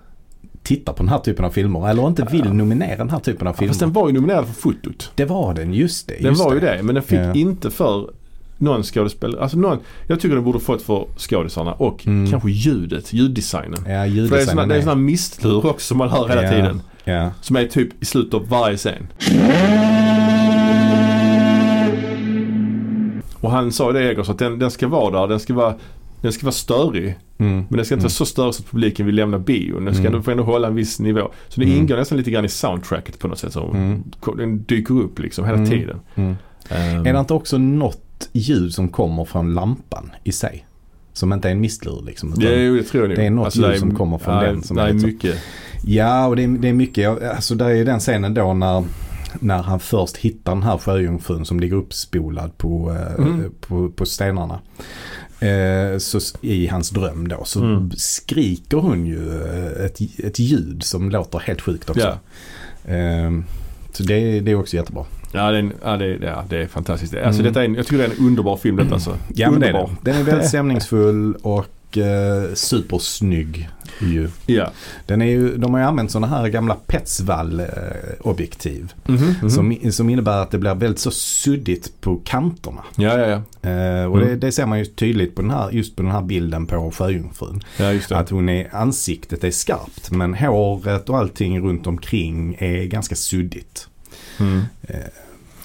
tittar på den här typen av filmer eller inte vill nominera den här typen av filmer.
Fast den var ju nominerad för fotot.
Det var den, just det. Just
Den var ju det men den fick
Ja.
inte för någon skådespelare. Alltså någon, jag tycker den borde fått för skådisarna och
Mm.
kanske ljudet, ljuddesignen.
Ja,
För det är såna,
ljuddesignen
det är såna mistlur också som man hör hela
Ja,
tiden.
Ja,
Som är typ i slutet av varje scen. Och han sa ju det Eggers att den, den ska vara där. Den ska vara, den ska vara störig.
mm.
Men den ska inte vara så störig så att publiken vill lämna bion. Den ska
Mm.
ändå, får ändå hålla en viss nivå. Så det
Mm.
ingår nästan lite grann i soundtracket på något sätt. Så
Mm.
Den dyker upp liksom hela
Mm.
tiden.
Mm.
Ehm,
Är det inte också något ljud som kommer från lampan i sig? Som inte är en mistlur liksom. utan-
det, är- jo, det tror jag nog.
det är något ljud som kommer från
ja,
den som
det
är liksom-
är
lite så-
mycket.
Ja, och det är, det är mycket. Jag- Alltså där är ju den scenen då när när han först hittar den här sjöjungfrun som ligger uppspolad på, eh,
Mm.
på, på stenarna. Eh, så, s- I hans dröm då så
Mm.
skriker hon ju eh, ett, ett ljud som låter helt sjukt också.
Ja.
Eh, så det, det är också jättebra.
Ja, det är, en- ja, det, är- ja, det är fantastiskt. Alltså,
Mm.
detta är en, jag tycker det är en underbar film detta alltså.
Ja men det är
underbar.
den. Den är väldigt stämningsfull och eh, supersnygg ju.
Ja.
Den är ju, de har ju använt sådana här gamla Petzval-objektiv.
Mhm, mhm.
Som, som innebär att det blir väldigt så suddigt på kanterna.
ja, ja, ja.
Eh, och det,
Mm.
det ser man ju tydligt på den här, just på den här bilden på sjöjungfrun.
Ja, just det.
Att hon är, ansiktet är skarpt men håret och allting runt omkring är ganska suddigt. Eh,
Mm.
Till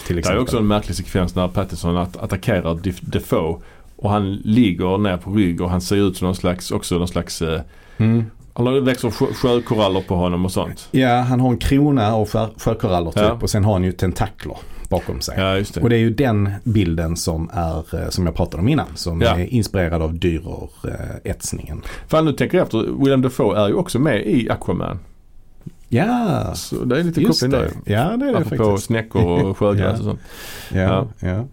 Det är
exempel.
också en märklig sekvens när Pattinson att attackerar Def- Defoe och han ligger ner på rygg och han ser ut som någon slags, också någon slags, eh,
Mm.
han har- det växer sjö- sjökoraller på honom och sånt.
Ja, han har en krona och skär- sjökoraller typ
Ja.
och sen har han ju tentakler bakom sig.
Ja, just det.
Och det är ju den bilden som är, eh, som jag pratade om innan, som
Ja.
är inspirerad av eh, Dürer-etsningen.
Fan nu tänker jag efter, William Defoe är ju också med i Aquaman.
Ja,
Så det är lite
just
koppling där.
det.
ju.
Ja, det är det
Apropå
faktiskt.
snäckor och sjögräs och sånt.
Ja, ja. ja.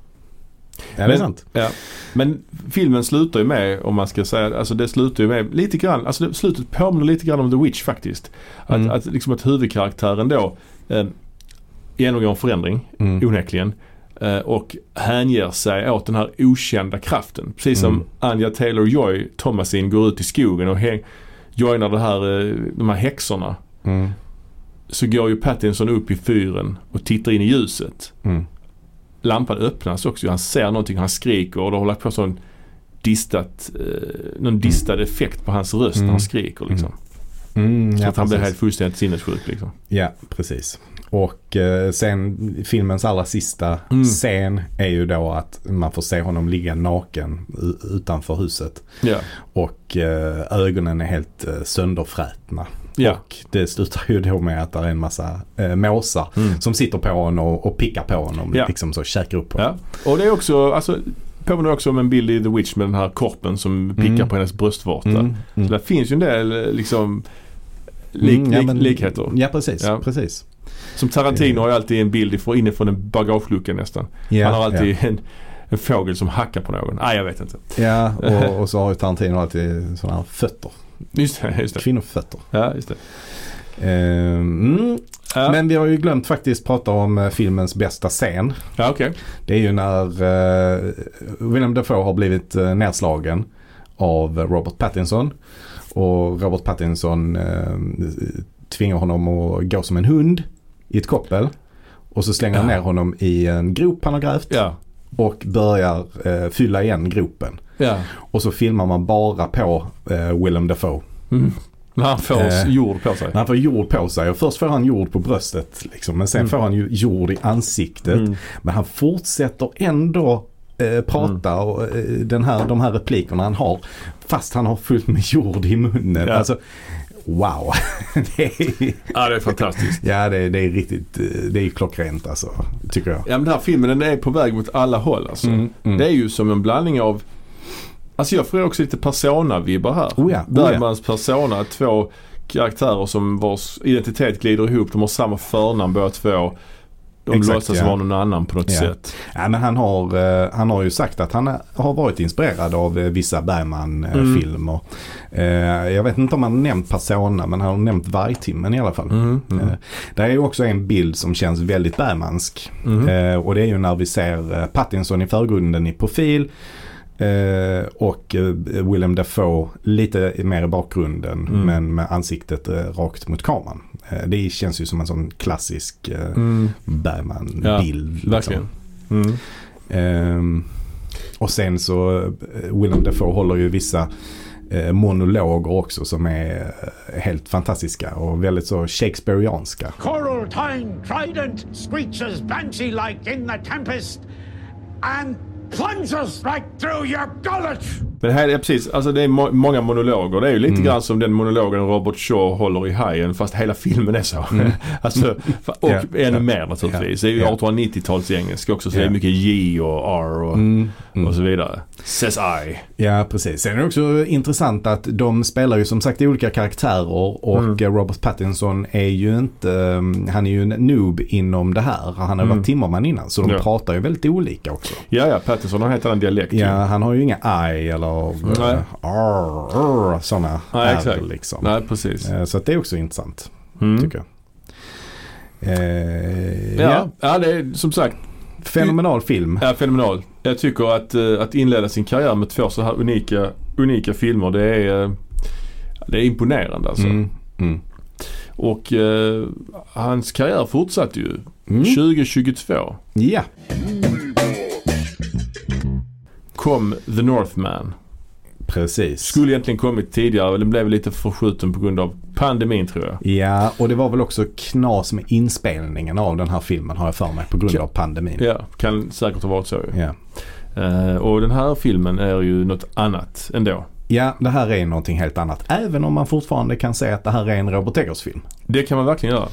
det är
Men-
sant.
Ja. Men filmen slutar ju med, om man ska säga, alltså det slutar ju med lite grann, alltså det, slutet påminner lite grann om The Witch faktiskt. Att,
Mm.
att, liksom att huvudkaraktären då eh, genomgår en förändring,
Mm.
onekligen. eh, Och hänger sig åt den här okända kraften. Precis som
Mm.
Anja Taylor-Joy, Thomasin, går ut i skogen och häng, joinar det här, eh, de här häxorna.
Mm.
Så går ju Pattinson upp i fyren och tittar in i ljuset
Mm.
lampan öppnas också. Han ser någonting, han skriker och det håller på sån distat, eh, någon distad effekt på hans röst när
Mm.
han skriker liksom.
Mm,
Så
ja,
att han blir
precis.
helt fullständigt sinnessjuk liksom.
Ja, precis. Och eh, sen filmens allra sista
Mm.
scen är ju då att man får se honom ligga naken u- utanför huset.
Ja,
Och eh, ögonen är helt eh, sönderfrätna.
ja.
Och det slutar ju då med att det är en massa eh, måsar
Mm.
som sitter på honom och, och pickar på honom.
Ja.
Liksom så käkar upp honom.
ja. Och det är också, alltså påminner också om en bild i The Witch med den här korpen som pickar
Mm.
på hennes bröstvårta.
Mm,
Så
mm.
där finns ju en del eh, liksom lik,
Mm, ja,
lik,
men- Eh.
likheter.
Ja, precis.
Ja.
precis.
Som Tarantino har ju alltid en bild ifrån, inifrån en bagagelucka nästan.
Ja,
Han har alltid
ja.
en, en fågel som hackar på någon. Nej, jag vet inte.
Ja, och, och så har ju Tarantino alltid sådana här fötter.
Just det, just det.
Kvinnofötter.
Ja, just det.
Eh, mm.
Ja,
Men vi har ju glömt faktiskt prata om eh, filmens bästa scen.
ja okej.
Det är ju när eh, Willem Dafoe har blivit eh, nedslagen av Robert Pattinson. Och Robert Pattinson eh, tvingar honom att gå som en hund i ett koppel. Och så slänger han
Ja.
ner honom i en grop han har grävt
Ja.
och börjar eh, fylla igen gropen.
Ja.
Och så filmar man bara på eh, Willem Dafoe.
Mm. När han får
Eh.
jord på sig.
När han får jord på sig och först får han jord på bröstet liksom, men sen
Mm.
får han ju jord i ansiktet.
Mm.
Men han fortsätter ändå eh, prata
Mm.
och, eh, den här, de här replikerna han har. Fast han har fullt med jord i munnen.
Ja.
Alltså, wow. det är,
Ja, det är fantastiskt.
ja, det, är- det är riktigt, eh, det är klockrent alltså, tycker jag.
Ja, men den här filmen den är på väg mot alla håll alltså.
Mm,
Det är ju som en blandning av Alltså jag får också lite Persona-vibbar här.
Oh ja, oh ja.
Bergmans Persona, två karaktärer som vars identitet glider ihop. De har samma förnamn båda två. De
Exakt,
låtsas
ja.
vara någon annan på något
Ja.
sätt.
Ja, men han, har, eh, han har ju sagt att han eh, har varit inspirerad av eh, vissa
Mm.
Bergman-filmer. Jag vet inte om han har nämnt Persona men han har nämnt Vargtimmen i alla fall.
Mm, mm,
Eh, Det är ju också en bild som känns väldigt Bergmansk.
mm.
Eh, och det är ju när vi ser eh, Pattinson i förgrunden i profil eh, och eh, Willem Dafoe lite mer i bakgrunden
Mm.
men med ansiktet eh, rakt mot kameran. Eh, det känns ju som en sån klassisk eh,
Mm, Ja,
Bergman-bild. liksom.
verkligen. Mm.
Ehm, och sen så eh, Willem Dafoe håller ju vissa eh, monologer också som är eh, helt fantastiska och väldigt så Shakespeareanska.
Coral Tine Trident screeches banshee like in the tempest and plunges right through your gullet!
Men här är precis, alltså det är må- många monologer. Det är ju
Mm.
lite grann som den monologen Robert Shaw håller i Hajen fast hela filmen är så. alltså, fa- och
Mm. Ja,
ännu
ja.
mer naturligtvis. Det är ju
Ja.
1890-tals engelska också så det
Ja.
är mycket J och R och,
Mm. Mm.
och så vidare. Says I.
Ja, precis. Sen är det också intressant att de spelar ju som sagt olika karaktärer och
Mm.
eh, Robert Pattinson är ju inte, um, han är ju en noob inom det här. Han har varit timmerman innan så de
Mm. Ja.
pratar ju väldigt olika också.
Ja, ja, Pattinson har en helt annan dialekt. ju.
Ja, han har ju inga I eller
Typ. Nej.
eh, R, R sådana
Ja,
R
exakt.
liksom.
Nej, precis.
Eh, Så att det är också intressant
Mm.
tycker jag. Eh, ja.
Ja, ja, det är som sagt
Fenomenal film.
Ja, fenomenal. Jag tycker att, eh, att inleda sin karriär med två så här unika, unika filmer det är, eh, det är imponerande alltså.
Mm. Mm.
Och eh, hans karriär fortsatte ju
Mm.
2022.
Ja,
Kom The Northman.
precis.
Skulle egentligen kommit tidigare men den blev lite förskjuten på grund av pandemin tror jag.
Ja, och det var väl också knas med inspelningen av den här filmen har jag för mig på grund av pandemin.
Ja, kan säkert ha varit så ju.
Ja.
Eh, och den här filmen är ju något annat ändå.
ja, det här är någonting helt annat. Även om man fortfarande kan säga att det här är en Robert Eggers-film.
Det kan man verkligen göra.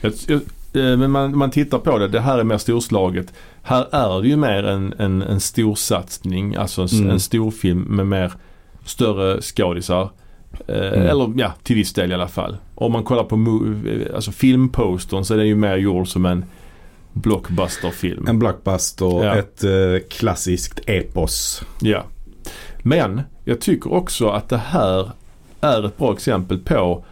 Jag, jag, eh, men man, man tittar på det. Det här är mer storslaget. Här är det ju mer en, en, en storsatsning. Alltså en,
Mm.
en storfilm med mer större skådisar. Eh, Eller ja, till viss del i alla fall. Om man kollar på mo- eh, alltså filmpostern så är den ju mer gjord som en blockbusterfilm.
En blockbuster,
Ja.
ett eh, klassiskt epos.
Ja. Men jag tycker också att det här är ett bra exempel på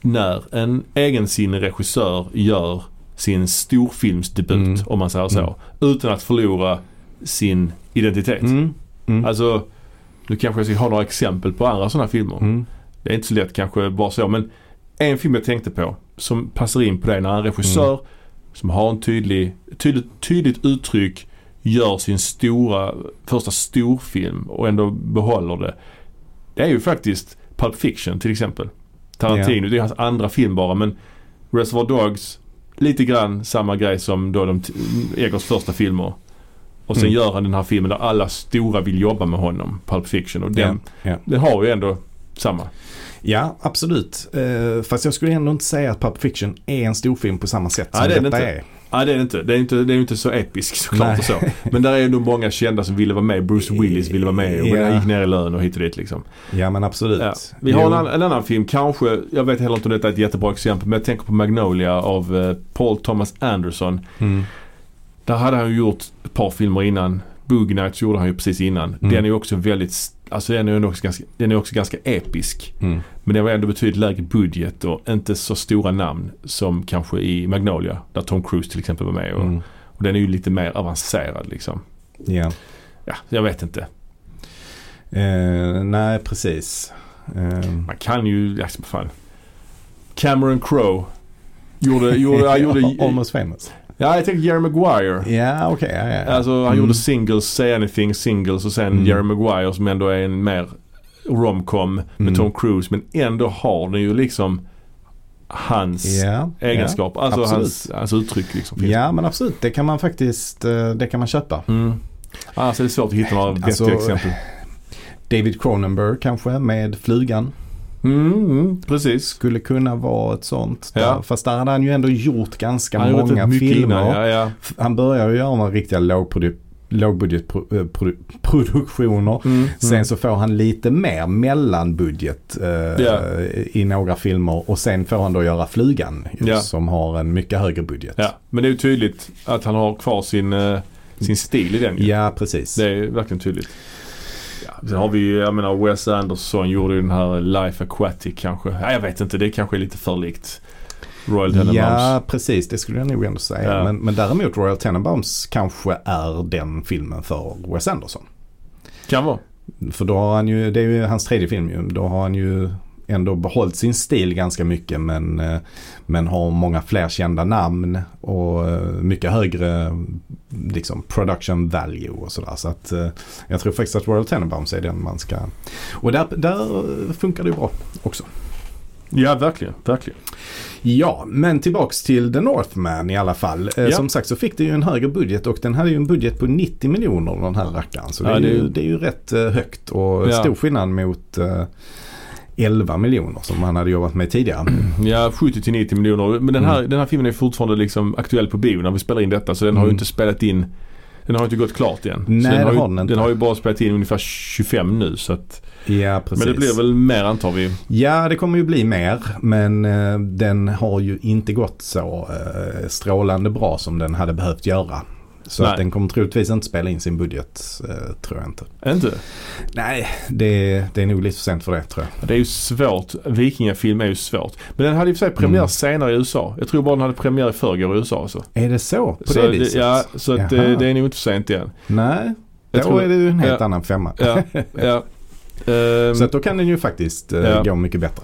när en egensinnig regissör gör sin storfilmsdebut,
Mm.
om man säger så,
Mm.
utan att förlora sin identitet.
Mm. Mm.
Alltså, nu kanske jag ska ha några exempel på andra sådana filmer.
Mm.
Det är inte så lätt kanske bara så men en film jag tänkte på som passar in på det när en regissör
Mm.
som har en tydlig, tydligt, tydligt uttryck gör sin stora, första storfilm och ändå behåller det. Det är ju faktiskt Pulp Fiction till exempel. Tarantino, det är hans andra film bara men Reservoir Dogs, lite grann samma grej som då de t- Eggers första filmer. Och sen
Mm.
gör han den här filmen där alla stora vill jobba med honom, Pulp Fiction. Och den,
Ja. Ja.
den har ju ändå samma.
ja, absolut. Eh, fast jag skulle ändå inte säga att Pulp Fiction är en storfilm på samma sätt som
Nej, det är
detta
det inte.
är.
Nej det är det inte. Det är inte, det är inte så episk
Nej.
såklart och så. Men där är ändå många kända som ville vara med. Bruce Willis ville vara med och
Ja.
yeah. gick ner i lön och hit och dit liksom.
Ja, men absolut.
Ja. Vi har
Jo.
en, annan- en annan film kanske, jag vet heller inte om detta är ett jättebra exempel, men jag tänker på Magnolia av eh, Paul Thomas Anderson.
Mm.
Där hade han ju gjort ett par filmer innan. Boogie Nights gjorde han ju precis innan.
Mm.
Den är ju också väldigt, s- alltså den är ju också ganska, den är också ganska episk.
Mm.
Men det var ändå betydligt lägre budget och inte så stora namn som kanske i Magnolia. Där Tom Cruise till exempel var med och
Mm.
och den är ju lite mer avancerad liksom.
Ja.
Ja, jag vet inte.
Eh, nej, precis. Eh,
Man kan ju, ja, som fan. Cameron Crowe. Gjorde, gjorde,
Eh, ja,
han gjorde,
Almost famous.
ja jag tänkte Jerry Maguire.
Ja, okej. ja, ja, ja.
Alltså han
Mm.
gjorde singles, Say Anything singles och sen
Mm.
Jerry Maguire som ändå är en mer romcom med
Mm.
Tom Cruise. Men ändå har den ju liksom hans
Ja,
egenskap. alltså
absolut.
hans, hans uttryck liksom.
Ja.
finns.
ja, men absolut. Det kan man faktiskt eh, det kan man köpa.
Mm. Annars är det svårt att hitta några vettiga
Alltså-
exempel.
David Cronenberg kanske med Flugan
Mm, mm, precis.
skulle kunna vara ett sånt. Där.
Ja.
Fast där hade han ju ändå gjort ganska
Han har gjort
många
rätt mycket
filmer.
innan. Ja, ja.
F- Han börjar ju göra några riktiga lågprodu- lågbudgetproduktioner.
Mm,
Sen så får han lite mer mellanbudget eh,
Ja.
i några filmer och sen får han då göra Flugan ju,
Ja.
som har en mycket högre budget.
Ja, men det är ju tydligt att han har kvar sin, eh, sin stil i den ju.
Ja, precis.
Det är verkligen tydligt. Ja, sen har vi ju, jag menar Wes Anderson gjorde ju den här Life Aquatic kanske. Ja, jag vet inte, det kanske är lite för likt Royal Tenenbaums.
Ja, precis. Det skulle jag nog ändå säga.
Ja.
Men, men däremot Royal Tenenbaums kanske är den filmen för Wes Anderson.
Kan vara.
För då har han ju, det är ju hans tredje film ju. Då har han ju ändå behållit sin stil ganska mycket men, eh, men har många fler kända namn och eh, mycket högre liksom, production value och sådär. Så att eh, jag tror faktiskt att Royal Tenenbaums är den man ska... Och där, där funkar det ju bra också.
Ja, verkligen. verkligen.
Ja, men tillbaks till The Northman i alla fall. Eh,
Ja.
Som sagt så fick det ju en högre budget och den hade ju en budget på 90 miljoner den här rackaren. Så det,
Ja,
är
det är
ju,
ju-
det är ju rätt eh, högt och
Ja.
stor skillnad mot eh, 11 miljoner som han hade jobbat med tidigare.
Ja, 70 till 90 miljoner. Men den
Mm.
här, den här filmen är fortfarande liksom aktuell på bio när vi spelar in detta. Så den har ju
Mm.
inte spelat in. Den har ju inte gått klart än.
Nej,
så
det
den har,
har
ju,
den inte.
den har ju bara spelat in ungefär 25 nu. Så att,
Ja, precis.
men det blir väl mer antar vi.
Ja, det kommer ju bli mer. Men eh, den har ju inte gått så eh, strålande bra som den hade behövt göra. Så
Nej.
att den kommer troligtvis inte spela in sin budget, eh, tror jag inte.
Inte?
Nej, det, det är nog lite för sent för det tror jag.
Det är ju svårt. Vikingafilm är ju svårt. Men den hade i och för sig premiär
Mm.
senare i USA. Jag tror bara den hade premiär i förrgår i USA. Så.
Är det så? På
alltså. så
det viset?
ja, så att, eh,
Jaha.
det är nog inte för sent än.
Nej,
Jag
då
tror-
är det ju en helt
Ja.
annan femma.
Ja, ja. Ehm,
Så att då kan den ju faktiskt eh,
Ja.
gå mycket bättre.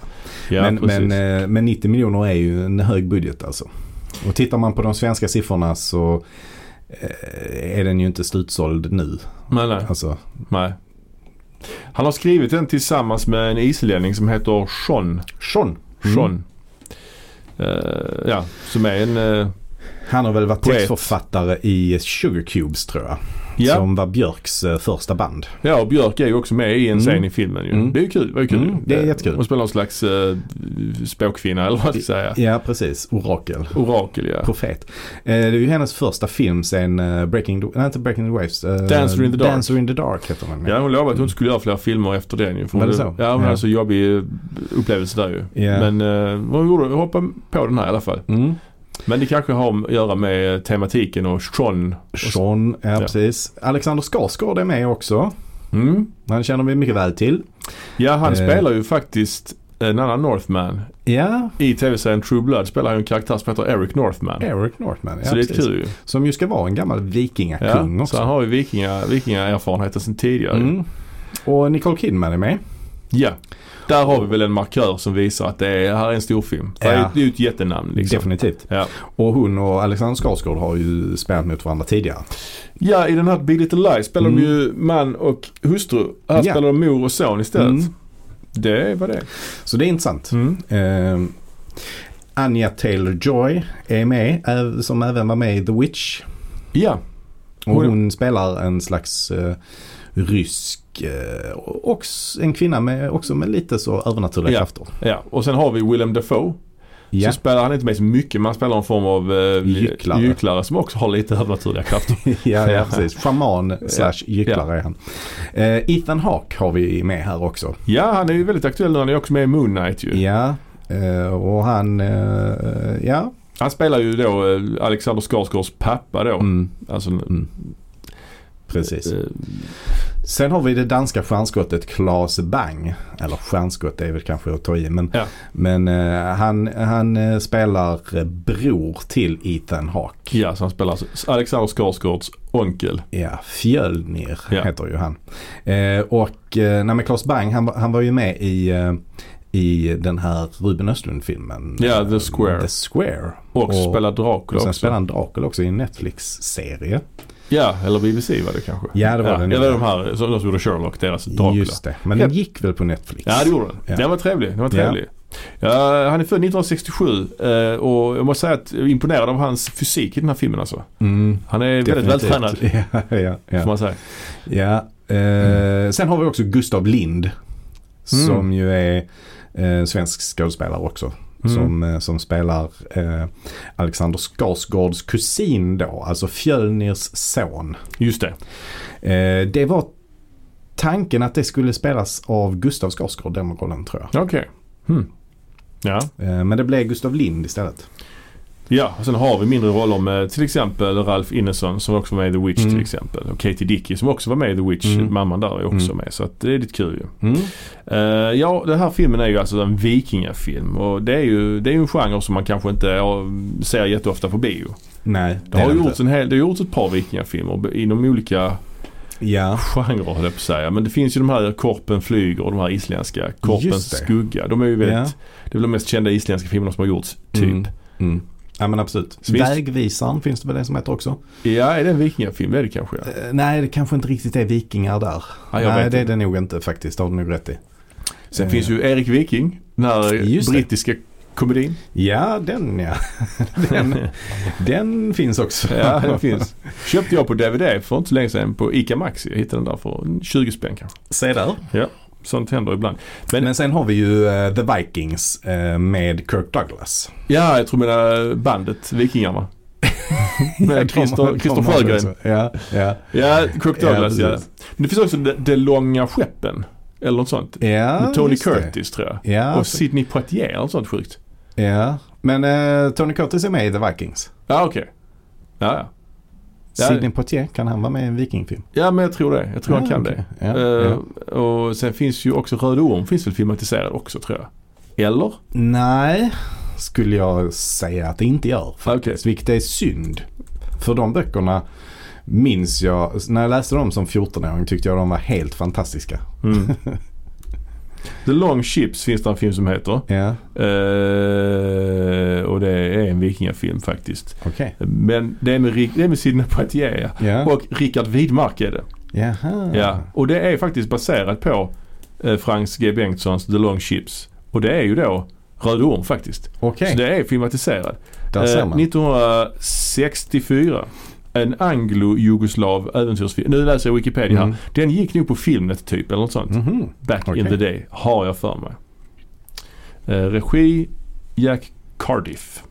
ja,
men,
precis.
men, eh, men 90 miljoner är ju en hög budget alltså. Och tittar man på de svenska siffrorna så eh, är den ju inte slutsåld nu.
nej, nej.
Alltså,
Nej. Han har skrivit den tillsammans med en islänning som heter Sean.
Sean. Mm.
Sean. Eh, ja, som är en... eh,
Han har väl varit
Poet.
textförfattare i Sugar Cubes tror jag.
ja,
Som var Björks eh, första band.
ja, och Björk är ju också med i en
Mm.
scen i filmen ju.
Mm.
Det är ju kul. Det, var ju kul.
Mm, det är jättekul.
Hon spelar någon slags eh, spåkvinna eller vad man ska säga.
Ja, precis. Orakel.
Orakel ja.
Profet. Eh, det är ju hennes första film sen eh, Breaking the, nej, inte Breaking the Waves. eh,
Dancer in the Dark.
Dancer in the Dark heter den.
Ja, hon lovade att hon inte skulle göra fler filmer efter den ju. För
Var
hon,
det så?
Ja, hon
Ja.
hade så jobbig eh, upplevelse där ju.
Ja.
Men eh, hon gjorde, hoppade på den här i alla fall.
Mm.
Men det kanske har att göra med tematiken och Sean.
Sean, ja,
Ja.
precis. Alexander Skarsgård är med också.
Mm.
Han känner vi mycket väl till.
Ja, han
Eh.
spelar ju faktiskt en annan Northman.
Ja,
I tv-serien True Blood spelar han ju en karaktär som heter Eric Northman.
Eric Northman. Ja,
så det är
precis.
kul ju.
Som ju ska vara en gammal vikingakung
Ja, så han
också.
har ju vikinga, vikingaerfarenheter sedan tidigare.
Mm. Och Nicole Kidman är med.
Ja. Där har vi väl en markör som visar att det är, här är en storfilm. Det är
Ja.
ju- det är ju ett jättenamn liksom.
Definitivt.
Ja.
Och hon och Alexander Skarsgård har ju spelat mot varandra tidigare.
ja, i den här Big Little Lies spelar
Mm.
de ju man och hustru. Här
Ja.
spelar de mor och son istället.
Mm.
Det var det
Så det är intressant.
mm.
Eh, Anja Taylor-Joy är med, äv- som även var med i The Witch.
Ja,
Och
Hon-
hon spelar en slags eh, rysk, eh, och s- en kvinna med, också med lite så övernaturliga
Ja.
krafter.
ja. Och sen har vi Willem Dafoe.
Ja.
Så spelar han inte med så mycket. Man spelar en form av eh,
Gycklare.
gycklare som också har lite övernaturliga krafter.
ja, ja, precis. Schaman slash gycklare
Ja.
är han. Eh, Ethan Hawke har vi med här också.
Ja, han är ju väldigt aktuell nu. Han är också med i Moon Knight ju.
Ja, eh, och han, eh, ja.
Han spelar ju då eh, Alexander Skarsgårds pappa då.
Mm,
Alltså,
precis.
eh,
Sen har vi det danska stjärnskottet Claes Bang. Eller stjärnskott är väl kanske att ta i. Men,
Ja.
men eh, han, han eh, spelar eh, bror till Ethan Hawke.
ja, så han spelar alltså Alexander Skarsgårds onkel.
Ja, Fjölnir
Ja.
heter ju han. Eh, och eh, nej, men Claes Bang han, var- han var ju med i, eh, i den här Ruben Östlund-filmen.
Ja, The
Eh,
Square.
The Square.
Och,
Och-
spelar Dracula
Och sen
också.
spelar han Dracula också i en Netflix-serie.
Ja, eller BBC var det kanske.
Ja, det var den.
Ja, eller de här som de som gjorde Sherlock, deras Dracula.
Just det. Men den gick väl på Netflix?
Ja, det gjorde den.
Ja.
Den var trevlig. Den var
Ja.
trevlig. Ja. han är född 1967 eh, och jag måste säga att jag är imponerad av hans fysik i den här filmen alltså.
Mm,
Han är väldigt
definitivt.
vältränad,
Ja, ja, ja.
får man säga.
Ja, eh, sen har vi också Gustav Lind. Som ju är eh, svensk skådespelare också.
Mm.
Som, eh, som spelar eh, Alexander Skarsgårds kusin då, alltså Fjölnirs son.
Just det.
Eh, det var tanken att det skulle spelas av Gustav Skarsgård, den rollen tror jag.
Okej. Hmm. Ja.
Eh, men det blev Gustav Lind istället.
Ja, och sen har vi mindre roller med till exempel Ralph Ineson som också var med i The Witch
Mm.
till exempel. Och Katie Dickey som också var med i The Witch.
Mm.
Mamman där är också
Mm.
med. Så att det är lite kul ju.
Mm.
Eh, ja, den här filmen är ju alltså en vikingafilm. Och det är ju, det är ju en genre som man kanske inte ja, ser jätteofta på bio.
Nej,
Det
är
har
det
gjorts, en hel, det har gjorts ett par vikingafilmer be- inom olika
inte. Ja,
genrer höll jag på att säga. Men det finns ju de här Korpen flyger och de här isländska.
Just
Korpens
det.
skugga. De är ju väldigt,
Ja.
det är väl de mest kända isländska filmerna som har gjorts. Typ.
Mm. Mm. Ja men absolut.
Så visst-
Vägvisaren finns det väl det som heter också?
Ja, är det en vikingafilm? Det är det kanske. Ja.
Eh, Nej, det kanske inte riktigt är vikingar där.
Ja, jag
Nej,
vet
det är
inte.
det nog inte faktiskt. Det har du nog rätt i.
Sen
Eh.
finns ju Erik Viking, den här
Just det.
brittiska Komedin.
Ja, den ja. Den, den finns också.
Ja, den finns. Köpte jag på DVD för inte så länge sedan på ICA Maxi. Jag hittade den där för en 20 spänn kanske.
Se där.
Ja, sånt händer ibland.
Men, sen har vi ju eh, The Vikings eh, med Kirk
Eh,
Douglas.
Ja, jag tror mina bandet Vikingarna. Med Christer, Christer
Kommer han
Sjögren.
också. Ja, ja.
Ja, Kirk
Ja,
Douglas. Ja,
precis.
Men det finns också De, de långa skeppen. Eller något sånt.
ja
Med Tony
just det.
Curtis tror jag.
Ja,
och Sidney Poitier eller något sånt sjukt.
ja. Men eh, Tony Curtis är med i The Vikings.
Ja, okej. Ja, ja. Ja.
Sidney Poitier, kan han vara med i en vikingfilm?
Ja men jag tror det. Jag tror
Ja,
han kan
okej.
det.
Ja,
Eh, Och sen finns ju också Röde Orm finns väl filmatiserad också tror jag. Eller?
Nej, skulle jag säga att det inte gör.
Okej.
Vilket är synd. För de böckerna minns jag, när jag läste dem som 14-åring tyckte jag de var helt fantastiska.
Mm. The Long Ships finns det en film som heter.
Ja,
Eh, och det är en vikingafilm faktiskt.
okej.
Men det är med, Rick- det är med Sidney Poitier ja.
Ja,
Och Richard Widmark är det.
jaha.
Ja. Eh, Och det är faktiskt baserat på eh, Franks G Bengtssons The Long Ships. Och det är ju då Röde Orm faktiskt.
Okej,
Så det är filmatiserad.
där
Eh,
ser man.
1964. En anglo-jugoslav äventyrsfilm. Nu läser jag Wikipedia
Mm.
här. Den gick nog på Filmnet typ eller något sånt.
Mhm.
Back in
Okej.
the day har jag för mig. Eh, regi Jack Cardiff.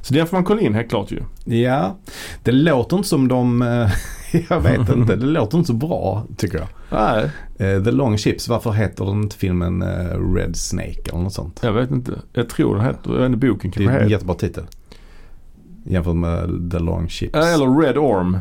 Så den får man kolla in helt klart ju.
Ja, det låter inte som de, eh, jag vet inte, det låter inte så bra tycker jag.
Nej,
Eh, The Long Chips, varför heter den inte filmen eh, Red Snake eller något sånt?
jag vet inte. Jag tror den heter, jag vet inte boken
Det
kanske
är en
heter.
jättebra titel. Jämfört med The Long Chips.
Eh, Eller Red Orm.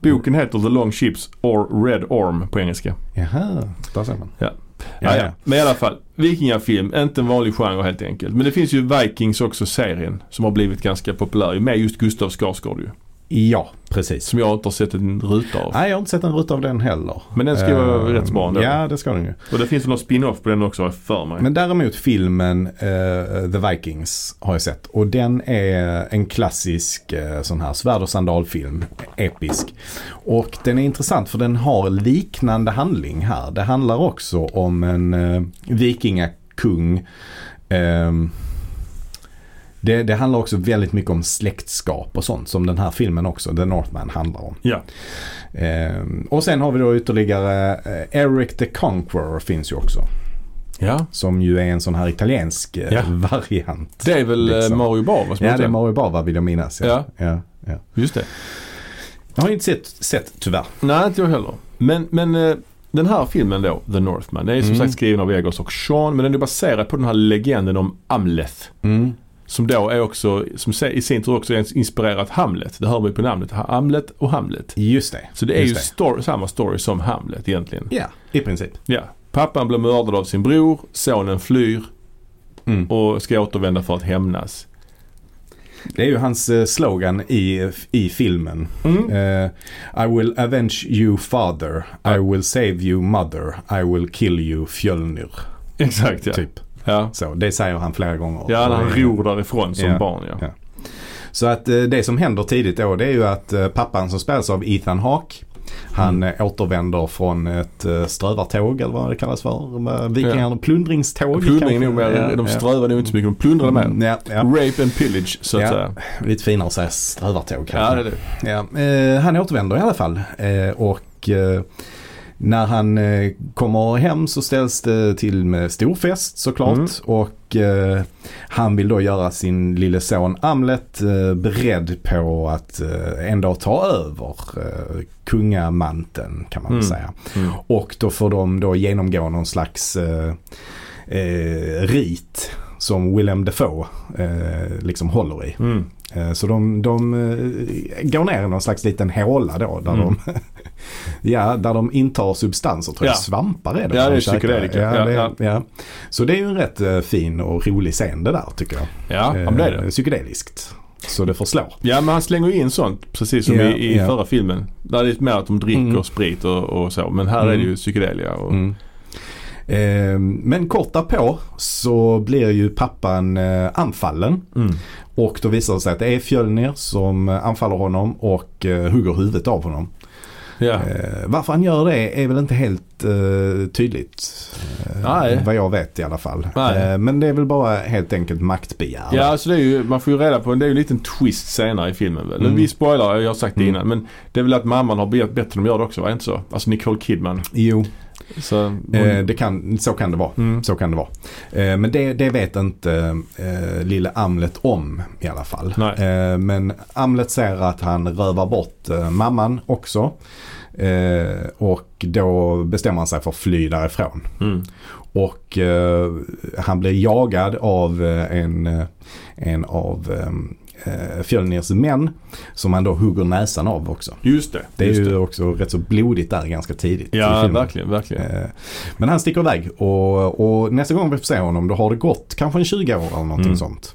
Boken heter The Long Ships or Red Orm på engelska.
Jaha, där ser man.
Ja. Ja, ja. Men i alla fall, vikingafilm, inte en vanlig genre helt enkelt. Men det finns ju Vikings också, serien, som har blivit ganska populär. ju, Med just Gustav Skarsgård ju.
Ja, precis.
Som jag inte har sett en ruta av.
Nej, jag har inte sett en ruta av den heller.
Men den ska ju vara
Eh,
rätt bra ändå.
Ja, det ska den ju.
Och det finns väl någon spin-off på den också, har jag för mig.
Men däremot filmen eh, The Vikings har jag sett. Och den är en klassisk eh, sån här svärd och sandalfilm. Episk. Och den är intressant för den har liknande handling här. Det handlar också om en eh, vikingakung. Ehm, det, det handlar också väldigt mycket om släktskap och sånt som den här filmen också, The Northman, handlar om.
Ja.
Ehm, och sen har vi då ytterligare eh, Eric the Conqueror finns ju också.
ja.
Som ju är en sån här italiensk eh,
Ja.
variant.
Det är väl eh,
Liksom.
Mario Bava som
Ja,
heter
det är
den?
Mario Bava vill jag minnas. Ja. Ja. Ja,
Just det.
Jag har ju inte sett, sett tyvärr.
Nej, inte jag heller. Men, men eh, den här filmen då, The Northman, det är som
Mm.
sagt skriven av Egos och Sean. Men den är baserad på den här legenden om Amleth.
Mm.
Som då är också, som se- i sin tur också är inspirerat Hamlet. Det hör man ju på namnet. Ha- Hamlet och Hamlet.
Just det.
Så det är
Just
ju story, samma story som Hamlet egentligen.
Ja, i princip.
Ja. Pappan blir mördad av sin bror, sonen flyr
Mm.
och ska återvända för att hämnas.
Det är ju hans eh, slogan i, i filmen.
Mm.
Eh, I will avenge you father. I will save you mother. I will kill you Fjölnir.
Exakt ja.
Typ.
Ja,
Så, det säger han flera gånger.
ja när han
Och det är-
ror därifrån som
Ja.
barn ja.
Ja. Så att eh, det som händer tidigt då det är ju att eh, pappan som spelas av Ethan Hawke han
Mm.
eh, återvänder från ett eh, strövartåg eller vad det kallas för. med Vikingarna, plundringståg.
Plundring
kanske.
nog mer,
Ja,
de
ja.
strövar nog inte så mycket, de plundrar mer.
Mm, ja, ja.
Rape and pillage så att
Ja.
säga.
Lite finare att säga strövartåg kanske.
Ja, det är det.
Ja, eh, han återvänder i alla fall. Eh, och eh, när han eh, kommer hem så ställs det till med stor fest såklart.
Mm.
Och eh, han vill då göra sin lille son Amlet eh, beredd på att eh, en dag ta över eh, kungamanteln kan man väl
Mm.
säga.
Mm.
Och då får de då genomgå någon slags eh, eh, rit som Willem Dafoe eh, liksom håller i.
Mm.
Eh, Så de, de eh, går ner i någon slags liten håla då där,
Mm.
de, ja, där de intar substanser. Tror jag.
Ja.
Svampar är det.
Ja,
de
det är
käkar.
psykedelika.
Ja,
Ja,
det, ja.
ja.
Så det är ju en rätt eh, fin och rolig scen det där tycker jag.
Ja, ja, men det är det.
Eh, Psykedeliskt. Så det förslår.
Ja men han slänger ju in sånt precis som
Ja,
i, i
ja.
förra filmen. Där det är mer att de dricker
Mm.
sprit och, och så. Men här är det
Mm.
ju psykedelia. Och,
Mm. Eh, Men kort därpå så blir ju pappan eh, anfallen.
Mm.
Och då visar det sig att det är Fjölnir som eh, anfaller honom och eh, hugger huvudet av honom.
Ja.
Eh, varför han gör det är väl inte helt eh, tydligt. Eh,
Nej.
Vad jag vet i alla fall.
Nej.
Eh, men det är väl bara helt enkelt maktbegär.
Ja, alltså det är ju, man får ju reda på, det är ju en liten twist senare i filmen väl.
Mm.
Vi spoilar, jag har sagt det
Mm.
innan. Men det är väl att mamman har bett bett dem göra det också, va? Är det inte så? Alltså Nicole Kidman.
Jo,
Så, hon,
eh, det kan, så kan det vara.
Mm.
Så kan det vara. Eh, men det, det vet inte eh, lille Amlet om i alla fall.
Nej.
Eh, men Amlet ser att han rövar bort eh, mamman också. Eh, och då bestämmer han sig för att fly därifrån.
mm.
Och eh, han blir jagad av eh, en, eh, en av eh, eh, Fjölnirs män som han då hugger näsan av också.
Just det.
Det är
just
ju också rätt så blodigt där ganska tidigt. i
Ja,
filmen.
verkligen, verkligen.
Eh, Men han sticker iväg och, och nästa gång vi får se honom då har det gått kanske en 20 år eller någonting
Mm.
sånt.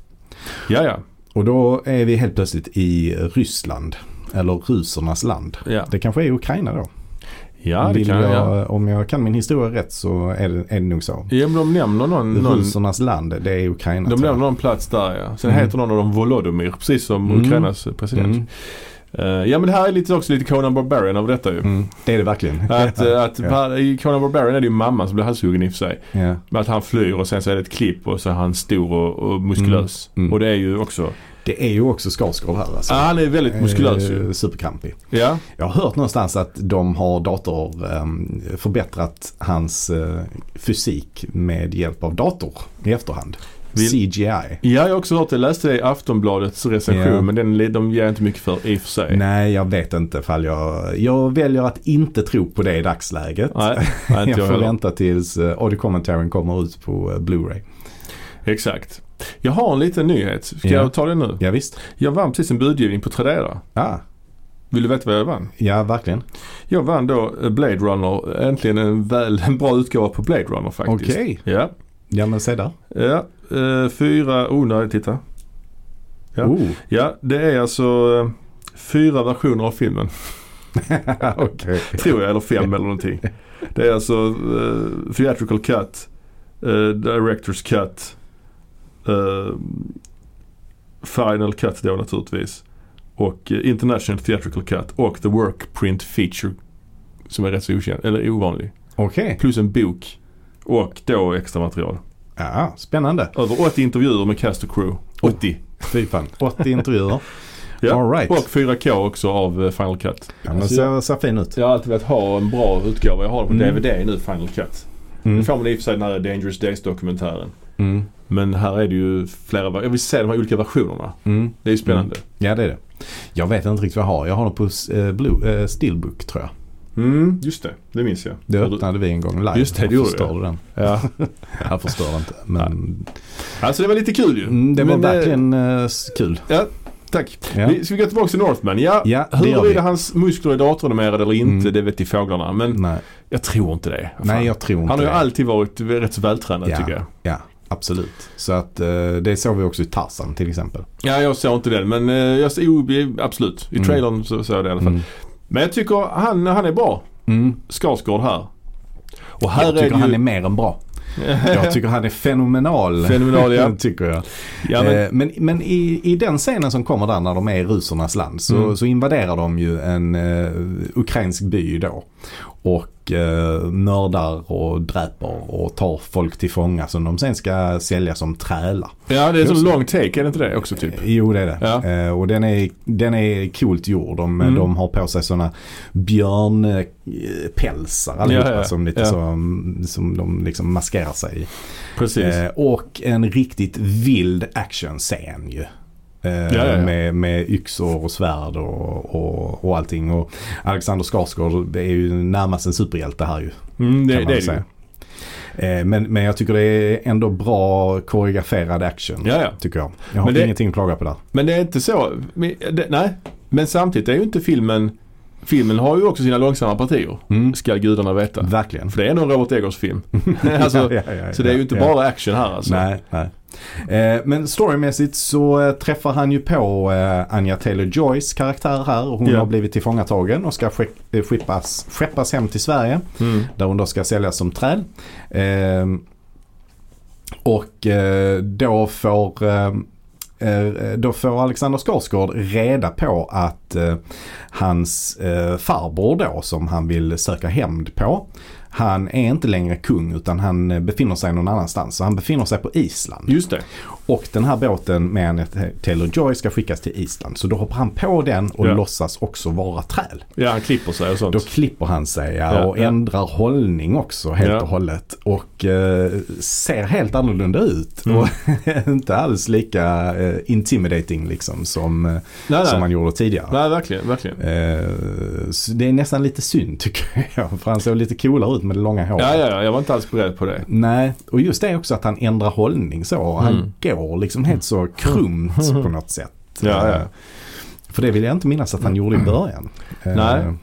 Ja, ja.
Och då är vi helt plötsligt i Ryssland. Eller rusernas land.
Ja,
Det kanske är Ukraina då.
ja det
Vill
kan jag.
jag,
Ja.
Om jag kan min historia rätt så är det, är det nog så.
Ja, men de nämner någon, någon,
Rusernas land, det är Ukraina.
de
tror jag.
nämner någon plats där ja. Sen
Mm.
heter någon av dem Volodymyr, precis som
Mm.
Ukrainas president.
Mm.
Eh, ja men det här är lite, också lite Conan Barbarian av detta ju.
Mm, det är det verkligen.
Att, eh, att
Ja.
pa- I Conan Barbarian är det ju mamman som blir halshuggen i och för sig.
ja.
Men att han flyr och sen så är det ett klipp och så är han stor och, och muskulös.
Mm. Mm.
Och det är ju också...
Det är ju också Skarsgård här alltså.
Ah, han är väldigt muskulös ju.
Eh, Superkrampig.
Ja.
Jag har hört någonstans att de har dator ehm, förbättrat hans eh, fysik med hjälp av dator i efterhand.
Vill-
CGI.
ja, jag har också hört det. Jag läste det i Aftonbladets recension
Ja.
men den, de ger jag inte mycket för i och för sig.
Nej, jag vet inte fall jag... Jag väljer att inte tro på det i dagsläget.
Nej, nej
jag
inte jag,
får
heller.
vänta tills eh, audio commentaren kommer ut på eh, Blu-ray.
Exakt. Jag har en liten nyhet. Ska
Ja.
jag ta den nu?
Ja, visst.
Jag vann precis en budgivning på Tradera.
Ah,
Vill du veta vad jag vann?
ja, verkligen.
Jag vann då eh, Blade Runner. Äntligen en, väl, en bra utgåva på Blade Runner faktiskt.
Okej.
Ja.
Ja, men se där.
ja. eh, fyra... Oh, nej, titta. Ja.
Oh.
Ja, det är alltså eh, fyra versioner av filmen.
Okej.
Tror jag, eller fem eller någonting. Det är alltså eh, Theatrical Cut, eh, Directors Cut, eh, Final Cut då naturligtvis. Och eh, International Theatrical Cut och The Work Print Feature som är rätt så okänd, eller ovanlig.
Okej.
Plus en bok och då extra material.
Ja, spännande.
Över 80 intervjuer med cast och crew. 80.
Fy fan. 80 intervjuer.
Ja.
All right.
Och 4K också av eh, Final Cut.
Ja, men ser, ser fin ut.
Jag har alltid velat ha en bra utgåva. Jag har den på
Mm.
DVD nu, Final Cut.
Mm.
Det får man i och för sig den här Dangerous Days-dokumentären.
Mm.
Men här är det ju flera... ver- Jag vill se de här olika versionerna.
Mm.
Det är ju spännande.
Ja, det är det. Jag vet inte riktigt vad jag har. Jag har dem på eh, Blue, eh, Steelbook tror jag.
Mm, just det. Det minns jag.
Det
Har du-
öppnade vi en gång live.
Just det, det
Då
gjorde
förstörde den.
Ja.
Jag förstör inte. Men
Alltså det var lite kul ju.
mm, det var
Men, eh,
verkligen eh, s- kul.
Ja, tack.
Ja.
Vi, ska vi gå tillbaka till Northman? Ja,
Ja, det gör vi.
huruvida hans muskler är datoranimerade eller inte,
Mm.
det vet i fåglarna. Men
Nej,
jag tror inte det. Fan.
nej jag tror inte
Han har ju
det.
alltid varit rätt så vältränad
Ja.
tycker jag.
Ja, absolut. Så att eh, det såg vi också i Tarzan till exempel.
Ja, jag såg inte den. Men eh, jag, jo, absolut. I
Mm.
trailern så såg jag det i alla fall.
Mm.
Men jag tycker han, han är bra,
Mm.
Skarsgård här. Och här
Jag
är
tycker
det
han
ju...
är mer än bra. Jag tycker han är fenomenal.
Fenomenal, ja.
tycker jag.
ja, men,
Eh, Men, men i, i den scenen som kommer där när de är i rusernas land så,
Mm.
så invaderar de ju en eh, ukrainsk by då. Och eh, mördar och dräper och tar folk till fånga som de sen ska sälja som trälar.
ja, det är en sån
just det.
lång take, är det inte det också typ?
Jo det är det.
Ja.
Eh, och den är, den är coolt gjord. De,
Mm.
de har på sig sådana björnpälsar allihopa
Ja, ja, ja.
som lite
Ja.
så, mm, som de liksom maskerar sig i.
Precis.
Eh, och en riktigt vild actionscen ju. Eh,
ja, ja.
Med, med yxor och svärd och, och, och allting. Och Alexander Skarsgård är ju närmast en superhjälte här ju.
mm, det,
kan
det
man
är det ju.
säga. Eh, Men, men jag tycker det är ändå bra koreograferad action.
Ja, ja.
Tycker jag. Jag har
Men det-
ingenting att klaga på där.
Men det är inte så... Men, det, nej. Men samtidigt är ju inte filmen... Filmen har ju också sina långsamma partier.
Mm.
Ska gudarna veta.
Verkligen.
För det är nog Robert Eggers film. alltså,
Ja, ja, ja,
så det är ju
ja,
inte
ja.
bara action här alltså.
Nej, nej. Eh, men storymässigt så eh, träffar han ju på eh, Anja Taylor-Joys karaktär här. Hon
Ja.
har blivit tillfångatagen och ska skick- eh, skeppas, skeppas hem till Sverige.
Mm.
Där hon då ska säljas som träd. Ehm, Eh, och eh, då får eh, eh, då får Alexander Skarsgård reda på att eh, hans eh, farbror då som han vill söka hämnd på. Han är inte längre kung utan han eh, befinner sig någon annanstans. Så han befinner sig på Island.
Just det.
Och den här båten med Anette Taylor-Joy ska skickas till Island. Så då hoppar han på den och
Ja.
låtsas också vara träl.
Ja, han klipper sig och sånt.
Då klipper han sig ja,
Ja,
och
ja.
ändrar hållning också helt
Ja.
och hållet. Och eh, ser helt annorlunda ut.
Mm.
Och inte alls lika eh, intimidating liksom som, eh,
nej,
som
nej.
han gjorde tidigare.
Nej, verkligen, verkligen.
Eh, så det är nästan lite synd tycker jag. För han såg lite coolare ut med det långa håret.
Ja, ja, ja, jag var inte alls beredd på det.
Nej, och just det också att han ändrar hållning så. Han går liksom helt så krumt på något sätt.
Mm.
Eh,
Ja, ja.
För det vill jag inte minnas att han gjorde i början.
Nej.
Eh,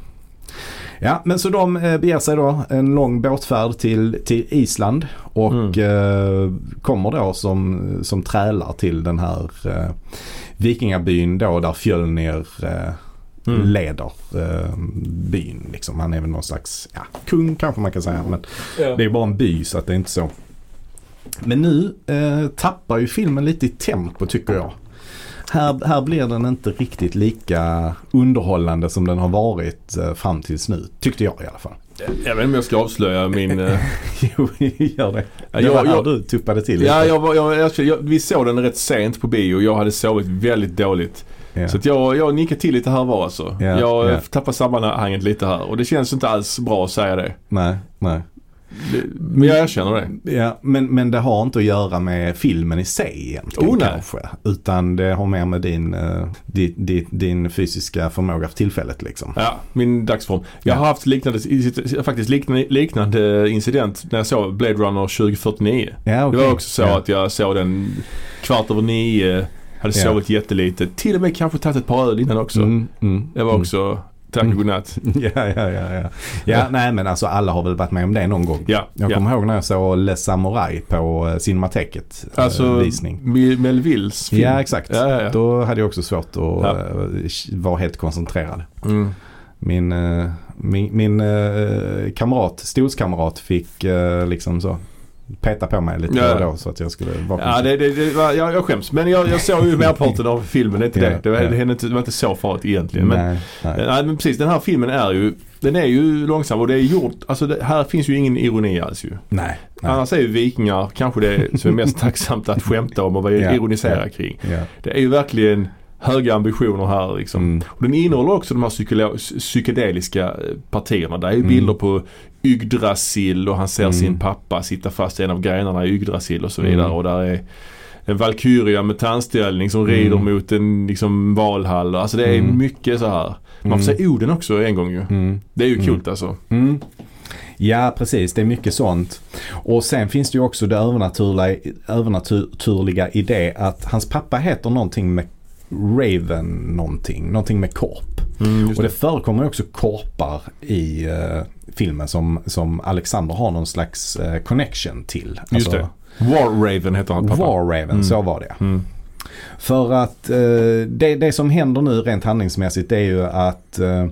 Ja, men så de eh, beger sig då en lång båtfärd till, till Island och eh, kommer då som, som trälar till den här eh, vikingabyn då där Fjölnir eh, leder eh, byn. Liksom. Han är väl någon slags ja, kung kanske man kan säga. Men det är bara en by så att det är inte så. Men nu eh, tappar ju filmen lite i tempo tycker jag. Här, här blir den inte riktigt lika underhållande som den har varit eh, fram tills nu. Tyckte jag i alla fall.
Jag vet inte om jag ska avslöja min... eh,
jo, gör det.
Ja,
det
jag-
var här
jag-
du tuppade till lite.
Ja, jag, var- jag, jag, jag, vi såg den rätt sent på bio. Jag hade sovit väldigt dåligt.
Ja.
Så att jag, jag nickade till lite här och var alltså.
Ja,
jag
ja.
yeah. tappade sammanhanget lite här och det känns inte alls bra att säga det.
Nej, nej.
Det- Men jag erkänner det.
Ja, men, men det har inte att göra med filmen i sig egentligen
Oh, nej.
kanske. Utan det har mer med din, eh, di, di, din fysiska förmåga för tillfället liksom.
Ja, min dagsform. Jag har haft liknande, i- faktiskt liknande, liknande incident när jag såg Blade Runner 2049.
Ja, okej.
Det var också så
ja.
att jag såg den kvart över nio, hade
Ja.
sovit jättelite. Till och med kanske tagit ett par öl innan också.
Mm, mm.
Jag var också, tack och godnatt.
Ja, ja, ja, ja. ja nej men alltså alla har väl varit med om det någon gång.
Ja,
Jag
ja.
kommer ihåg när jag såg Les Samurai på eh, Cinemateket eh,
Alltså,
visning.
Mi- Melvilles film.
Ja exakt.
Ja, ja, ja.
Då hade jag också svårt att
Ja.
eh, vara helt koncentrerad.
Mm.
Min, eh, min, min eh, kamrat, stolskamrat fick eh, liksom så peta på mig lite
Ja.
då och då så att jag skulle vara
Ja, det, det, det var, jag, jag skäms. Men jag, jag såg ju merparten av filmen, det är inte
Ja,
det. Det var,
ja.
det, hände inte, det var inte så farligt egentligen. Men,
nej, nej.
Eh, nej, men precis, den här filmen är ju, den är ju långsam och det är gjort, alltså det, här finns ju ingen ironi alls ju.
nej, nej.
Annars är ju vikingar kanske det som är mest tacksamt att skämta om och vad
Ja,
ironisera
ja.
kring.
Ja.
Det är ju verkligen höga ambitioner här liksom.
Mm.
Och den innehåller också de här psykolo- psy- psykedeliska eh, partierna. Det är ju
Mm.
bilder på Yggdrasil och han ser sin pappa sitta fast i en av grenarna i Yggdrasil och så vidare.
Mm.
Och där är en Valkyria med tandställning som rider
Mm.
mot en liksom Valhall. Alltså det är mycket så här. Man får se Oden också en gång ju. Det är ju kul alltså.
Mm. Ja, precis. Det är mycket sånt. Och sen finns det ju också det övernaturliga, övernaturliga i det att hans pappa heter någonting med Raven någonting. Någonting med korp.
Mm,
och det förekommer ju också korpar i eh, filmen som, som Alexander har någon slags eh, connection till.
Just
Alltså,
det. War Raven heter han pappa. Mm.
War Raven, så var det. För att eh, det, det som händer nu rent handlingsmässigt det är ju att eh,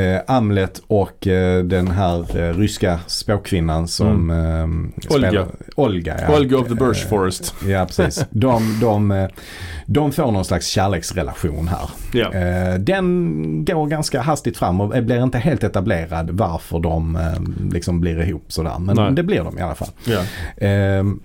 eh, Amlet och eh, den här eh, ryska spåkvinnan som eh,
Mm. Olga.
spelar- Olga, ja.
Olga of the Birch Forest.
Ja, precis. De, de, eh, de får någon slags kärleksrelation här.
Ja.
Eh, Den går ganska hastigt fram och eh, blir inte helt etablerad varför de eh, liksom blir ihop sådär. Men
Nej.
det blir de i alla fall.
Ja.
Ehm,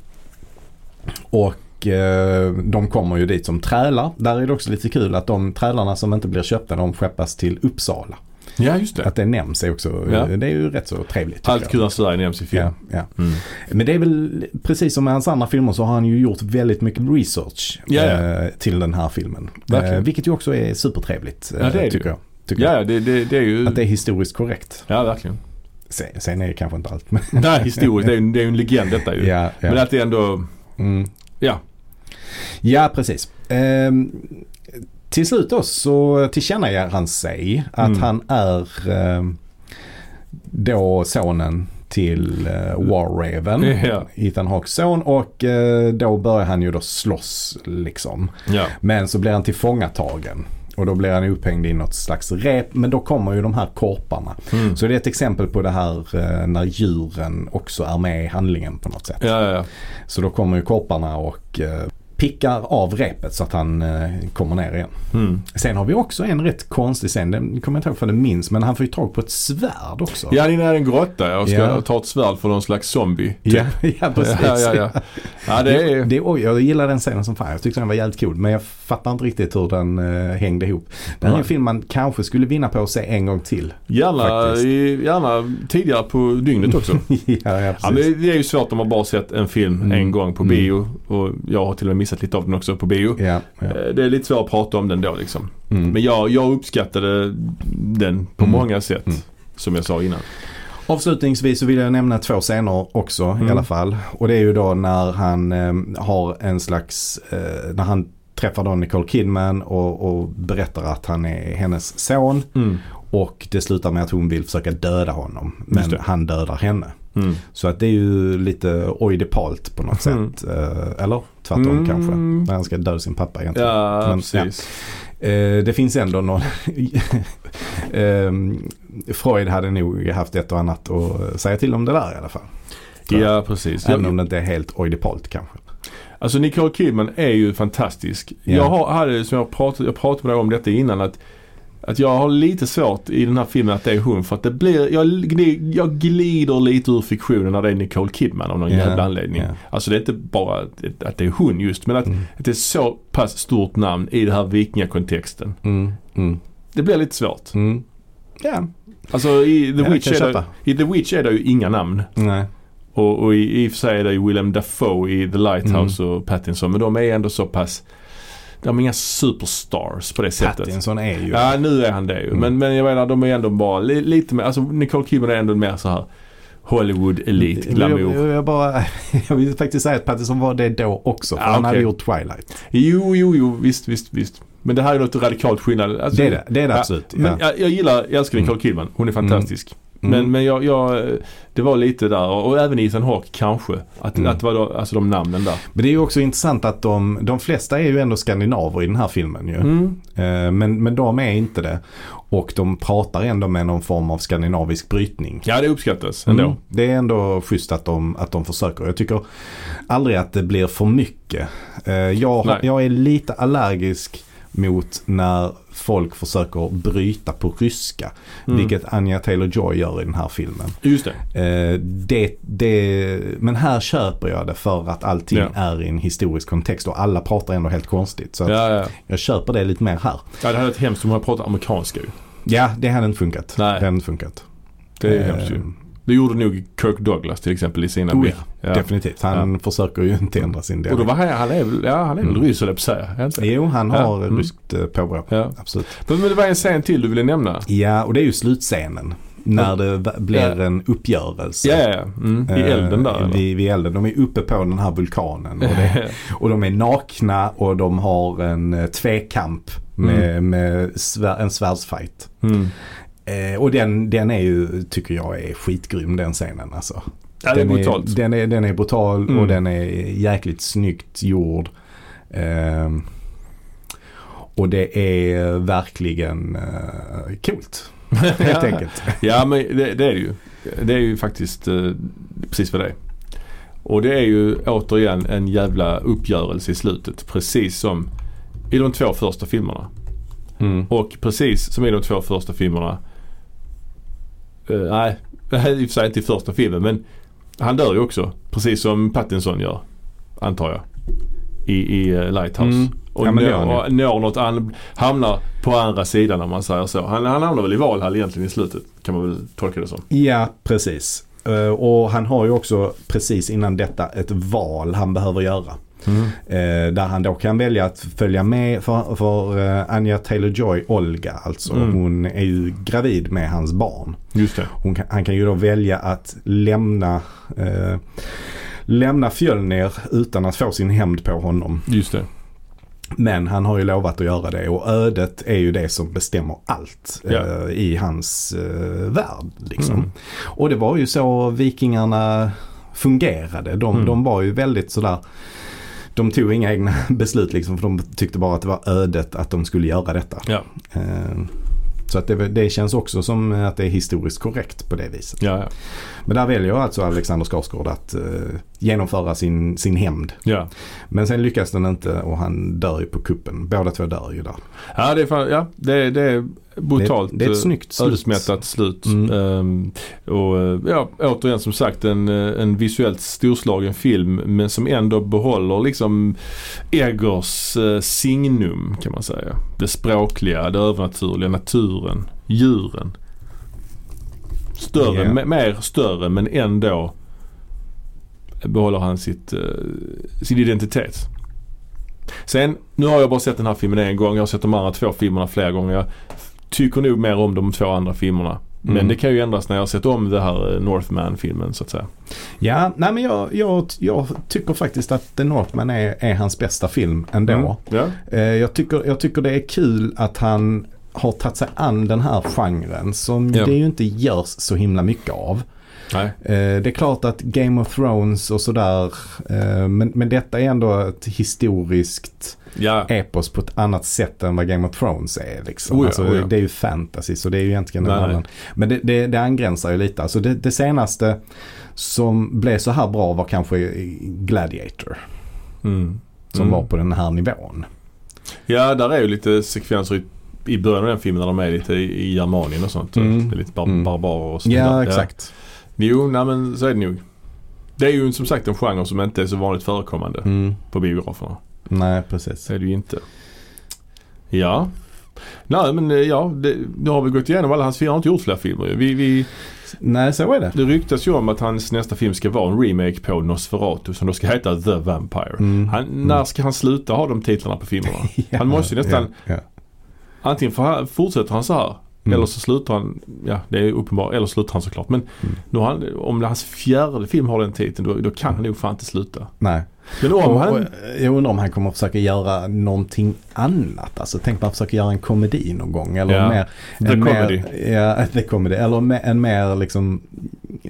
och eh, de kommer ju dit som trälar. Där är det också lite kul att de trälarna som inte blir köpta de skeppas till Uppsala.
ja, just det.
Att det nämns är också, eh,
Ja.
det är ju rätt så trevligt. tycker
Allt
jag.
kul Mm. Sverige nämns i film.
Ja, ja. Men det är väl precis som med hans andra filmer så har han ju gjort väldigt mycket research
Ja, ja.
eh, till den här filmen.
Verkligen.
Eh, vilket ju också är supertrevligt eh,
Ja, det är det
tycker
ju.
jag. Tycker
Ja,
jag.
ja det, det, det är ju...
Att det är historiskt korrekt.
Ja, verkligen.
Sen, sen är det kanske inte allt. Men,
Nej, historiskt. Det är ju det är ju en legend detta ju.
ja, ja.
Men att det ändå...
Mm.
Ja.
Ja, precis. Ehm, till slut då så tillkännager han sig att
Mm.
han är ehm, då sonen till eh, War Raven.
Ja.
Ethan Hawkes son och eh, då börjar han ju då slåss liksom.
Ja.
Men så blir han tillfångatagen. Och då blir han upphängd i något slags rep. Men då kommer ju de här korparna.
Mm.
Så det är ett exempel på det här eh, när djuren också är med i handlingen på något sätt.
Ja, ja, ja.
Så då kommer ju korparna och eh, pickar av repet så att han eh, kommer ner igen.
Mm.
Sen har vi också en rätt konstig scen, den kommer jag inte ihåg för den minns, men han får ju tag på ett svärd också.
Ja, det är nära en grotta och ska
Ja.
ta ett svärd för någon slags zombie. typ.
ja, ja precis.
Ja, ja, ja. ja det är...
Det, oj, jag gillar den scenen som fan. Jag tyckte den var jävligt cool. Men jag fattar inte riktigt hur den eh, hängde ihop. Det här är en
Nej.
film man kanske skulle vinna på att se en gång till.
Gärna,
Faktiskt.
i- gärna tidigare på dygnet också.
ja, ja,
Ja,
precis.
men det är ju svårt om man bara sett en film
Mm.
en gång på
Mm.
bio. Och jag har till och med missat lite av den också på bio.
ja, ja.
Eh, Det är lite svårt att prata om den då liksom.
Mm.
Men jag, jag uppskattade den på
Mm.
många sätt.
Mm.
Som jag sa innan.
Avslutningsvis så vill jag nämna två scener också i
Mm.
alla fall. Och det är ju då när han eh, har en slags, eh, när han träffar då Nicole Kidman och, och berättar att han är hennes son.
Mm.
Och det slutar med att hon vill försöka döda honom.
Just
Men
det.
han dödar henne. Så att det är ju lite oidipalt på något
Mm.
sätt. Eh, Eller tvärtom
Mm.
kanske. När han ska döda sin pappa egentligen.
Ja,
Men,
precis.
Eh, Det finns ändå någon... Ehm, Freud hade nog haft ett och annat att säga till om det där i alla fall.
Ja,
Ja.
precis.
Även om
Jag,
det inte är helt oidipalt kanske.
alltså Nicole Kidman är ju fantastisk.
Ja.
Jag har, hade, som jag pratade, jag pratade med dig om detta innan, att, att jag har lite svårt i den här filmen att det är hon. För att det blir, jag, gni- jag glider lite ur fiktionen när det är Nicole Kidman av någon
Ja,
jävla anledning.
ja. Mm.
Alltså det är inte bara att, att det är hon just, men att, att det är så pass stort namn i den här vikingakontexten.
Mm, mm,
Det blir lite svårt.
mm. Ja,
Alltså i The,
Ja,
Witch
jag kan
är det,
köpa.
i The Witch är det ju inga namn.
nej.
Och, och i, i och för sig är det ju Willem Dafoe i The Lighthouse
Mm.
och Pattinson. Men de är ändå så pass... De är inga superstars på det sättet.
Pattinson är ju...
Ja, nu är han det ju.
Mm.
Men, men jag menar, de är ändå bara li, lite mer... Alltså Nicole Kidman är ändå mer så här Hollywood elite
jag,
glamour.
jag, jag, bara, jag vill faktiskt säga att Pattinson var det då också. För
Ja,
han hade
okej.
gjort Twilight.
Jo, jo, jo. Visst, visst, visst. Men det här är något radikalt skillnad. Alltså,
Det är det, det, är det
Ja,
absolut.
Men
ja.
jag, jag gillar, jag älskar Nicole Kidman. Hon är fantastisk.
Mm.
Men, men jag, jag, det var lite där och, och även Ethan Hawke kanske. Att,
Mm.
att det var då, alltså de namnen där.
Men det är ju också intressant att de, de flesta är ju ändå skandinaver i den här filmen ju.
Mm.
Eh, Men, men de är inte det. Och de pratar ändå med någon form av skandinavisk brytning.
Ja, det uppskattas ändå.
Mm. Det är ändå schysst att de, att de försöker. Jag tycker aldrig att det blir för mycket. Eh, Jag,
Nej.
har- jag är lite allergisk mot när folk försöker bryta på ryska.
Mm.
Vilket Anja Taylor-Joy gör i den här filmen.
Just det.
Eh, det, det, men här köper jag det för att allting
Ja.
är i en historisk kontext och alla pratar ändå helt konstigt. Så att
Ja, ja.
jag köper det lite mer här.
ja, det hade varit hemskt om man pratat amerikanska ju.
Ja, det hade inte funkat.
Nej.
Det hade inte funkat.
Det är
Eh,
hemskt ju. Det gjorde nog Kirk Douglas till exempel i sina
Oh,
bild. ja.
Definitivt. Han försöker ju inte ändra sin
Och då
dialekt.
var han, han är väl, ja han är väl ryss höll jag på att säga. Är han inte?
Jo, han
Ja,
har
mm.
ryskt eh, påbrå.
Ja.
Absolut.
Men, men det var en scen till du ville nämna.
Ja, och det är ju slutscenen. När det va- blir en uppgörelse.
Ja, ja, ja. Mm. I
Eh,
elden där eller?
Vid, vid elden. De är uppe på den här vulkanen. Och, det, och de är nakna och de har en eh, tvekamp med, med svär, en svärdsfight.
Mm.
Eh, och den, den är ju, tycker jag är skitgrym den scenen alltså.
Ja, det är
den
brutalt.
Är, den, är, den är brutal
Mm.
och den är jäkligt snyggt gjord. Ehm, och det är verkligen uh, coolt. Helt enkelt.
Ja men det, det är det ju. Det är ju faktiskt eh, precis vad det är. Och det är ju återigen en jävla uppgörelse i slutet. Precis som i de två första filmerna.
Mm.
Och precis som i de två första filmerna. Eh, nej, i och för sig inte i första filmen men han dör ju också. Precis som Pattinson gör. Antar jag. I, i eh, Lighthouse.
Mm.
Och
Ja, men det gör
når,
han
når något an, hamnar på andra sidan om man säger så. Han, han hamnar väl i Valhall egentligen i slutet. Kan man väl tolka det som.
Ja, precis. Eh, och han har ju också precis innan detta ett val han behöver göra. Eh, där han då kan välja att följa med för, för eh, Anja Taylor-Joy, Olga alltså.
Mm.
Hon är ju gravid med hans barn.
Just det.
Hon kan, han kan ju då välja att lämna, eh, lämna Fjölnir utan att få sin hämnd på honom.
Just det.
Men han har ju lovat att göra det och ödet är ju det som bestämmer allt eh,
Ja.
i hans eh, värld. Liksom.
Mm.
Och det var ju så vikingarna fungerade. De,
Mm.
de var ju väldigt sådär de tog inga egna beslut liksom för de tyckte bara att det var ödet att de skulle göra detta.
Ja.
Eh, Så att det, det känns också som att det är historiskt korrekt på det viset.
Ja, ja.
Men där väljer alltså Alexander Skarsgård att eh, genomföra sin, sin hämnd.
Ja.
Men sen lyckas den inte och han dör ju på kuppen. Båda två dör ju där.
Ja, det är, fan, ja, det, är- det är brutalt.
Det är ett- det är ett
eh,
snyggt slut.
Ödesmättat slut.
Mm.
Ehm, och eh, ja, återigen som sagt en, eh, en visuellt storslagen film men som ändå behåller liksom Eggers eh, signum kan man säga. Det språkliga, det övernaturliga, naturen, djuren. Större,
Ja.
me- mer större men ändå behåller han sitt, eh, sin identitet. Sen, nu har jag bara sett den här filmen en gång. Jag har sett de andra två filmerna flera gånger. Jag tycker nog mer om de två andra filmerna. Men
Mm.
det kan ju ändras när jag har sett om det här eh, Northman-filmen så att säga.
Ja, nej men jag, jag, jag tycker faktiskt att The Northman är, är hans bästa film ändå.
Mm. Ja.
Eh, Jag tycker, jag tycker det är kul att han har tagit sig an den här genren som
Ja.
det ju inte görs så himla mycket av.
Nej.
Eh, Det är klart att Game of Thrones och sådär eh, men, men detta är ändå ett historiskt
Ja.
epos på ett annat sätt än vad Game of Thrones är. Liksom.
Oh ja,
alltså,
oh ja.
Det är ju fantasy så det är ju egentligen
Nej,
en
nej.
annan. Men det, det, det angränsar ju lite. Alltså det, det senaste som blev så här bra var kanske Gladiator.
Mm.
Som
Mm.
var på den här nivån.
Ja, där är ju lite sekvenser i, i början av den filmen när de är lite i, i Germanien och sånt.
Mm.
Det är lite bar-
Mm.
barbarer och sånt där.
Ja, exakt.
Jo, nej men så är det nog. Det är ju som sagt en genre som inte är så vanligt förekommande
Mm.
på biograferna.
Nej, precis.
Så är det ju inte. Ja. Nej men eh, ja, det, nu har vi gått igenom alla hans filmer. Han har inte gjort fler filmer ju. vi, vi,
Nej, så är det.
Det ryktas ju om att hans nästa film ska vara en remake på Nosferatu som då ska heta The Vampire.
Mm.
Han, när ska han sluta ha de titlarna på filmerna? Han måste ju nästan-
Ja, ja.
Antingen för han, fortsätter han så här
Mm.
eller så slutar han, ja det är uppenbart, eller slutar han såklart. Men
Mm.
nu har han, om det är hans fjärde film har den titeln då, då kan han nog fan inte sluta.
Nej.
Men om
Och-
han...
och Jag undrar om han kommer att försöka göra någonting annat. Alltså tänk bara försöka göra en komedi någon gång. Eller
Ja.
mer,
The
en
comedy.
Mer, ja, the comedy. Eller me- en mer liksom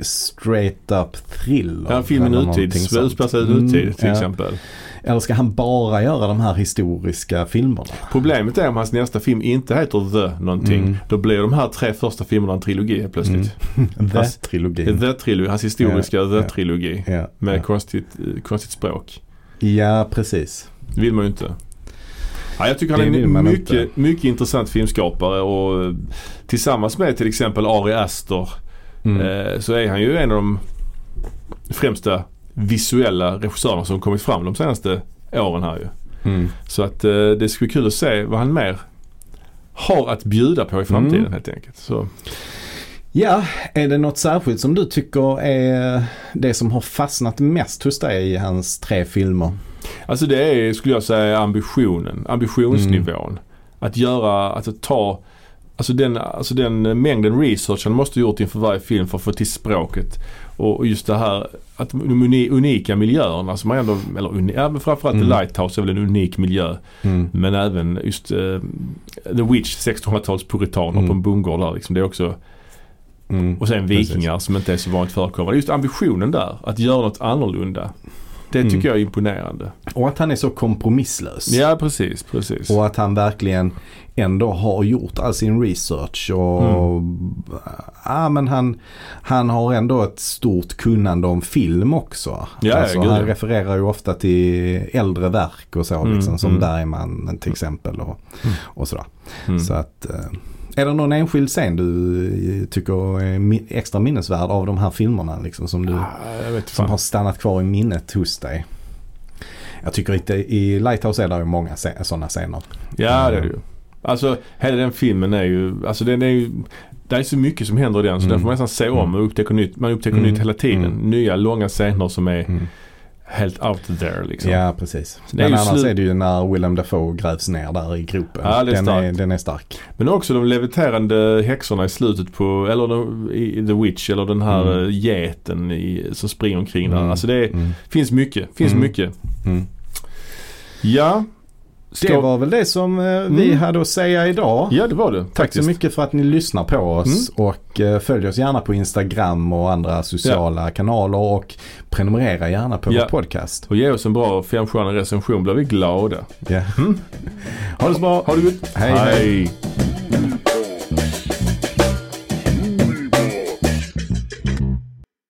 straight up thriller.
Ja, filmen
eller
Nutid,
någonting sånt.
utspelar sig i
Mm,
nutid till
ja.
exempel.
Eller ska han bara göra de här historiska filmerna?
Problemet är om hans nästa film inte heter The någonting.
Mm.
Då blir de här tre första filmerna en trilogi helt plötsligt. Hans-
The-trilogin.
The-trilogi, hans historiska
Ja, ja.
The-trilogi.
ja,
Med
ja.
konstigt, eh, konstigt språk.
ja, precis.
Det vill man ju inte. Ja, jag tycker han
Det
är
vill
en
man
mycket,
inte.
mycket intressant filmskapare och eh, tillsammans med till exempel Ari Aster
Mm.
eh, så är han ju en av de främsta visuella regissörerna som kommit fram de senaste åren här ju.
Mm.
Så att eh, det skulle bli kul att se vad han mer har att bjuda på i framtiden
Mm.
helt enkelt. Så,
Ja, är det något särskilt som du tycker är det som har fastnat mest hos dig i hans tre filmer?
alltså det är, skulle jag säga, ambitionen. Ambitionsnivån.
Mm.
Att göra, att ta Alltså den, alltså den mängden research han måste ha gjort inför varje film för att få till språket. Och och just det här att de uni- unika miljöerna som man ändå, eller uni- ja, men framförallt The
Mm.
Lighthouse är väl en unik miljö. Men även just eh, The Witch, 1600-tals puritaner
Mm.
på en bondgård där liksom. Det är också,
Mm.
och sen
Precis.
vikingar som inte är så vanligt förekommande. Just ambitionen där, att göra något annorlunda. Det
Mm.
tycker jag är imponerande.
Och att han är så kompromisslös.
Ja precis, precis.
Och att han verkligen ändå har gjort all sin research. Och, ja, men han, han har ändå ett stort kunnande om film också.
Ja,
alltså,
gud,
han
ja.
refererar ju ofta till äldre verk och så.
Mm,
liksom, som
mm.
Bergman till exempel. Och, och sådär.
Mm.
Så att, eh, är det någon enskild scen du eh, tycker är mi- extra minnesvärd av de här filmerna? Liksom, som du
Ah, jag vet
som
fan.
har stannat kvar i minnet hos dig. Jag tycker inte i Lighthouse är det ju många sådana scener.
Ja det är det ju. Alltså hela den filmen är ju, alltså den är ju det är så mycket som händer i den så den får man nästan se om och upptäcka nytt. Man upptäcker
Mm.
nytt hela tiden.
Mm.
Nya långa scener som är helt out there liksom.
Ja, precis.
det är
Men
ju
annars
slut-
är det ju när Willem Dafoe grävs ner där i gropen.
Ja, det är
den, är,
starkt.
den är stark.
Men också de leviterande häxorna i slutet på, eller de, i The Witch eller den här
Mm.
mm. geten i, som springer omkring där.
Mm.
Alltså det är,
Mm.
finns mycket, finns
Mm.
mycket.
Mm.
Ja. Ska,
Det var väl det som eh, vi
Mm.
hade att säga idag.
Ja det var det.
Tack så mycket för att ni lyssnar på oss och eh, följ oss gärna på Instagram och andra sociala kanaler och prenumerera gärna på
Ja.
vår podcast.
Och ge oss en bra femstjärnig recension blir vi glada.
Ja. Ha det så bra.
Ha det gott.
Hej, hej.
hej.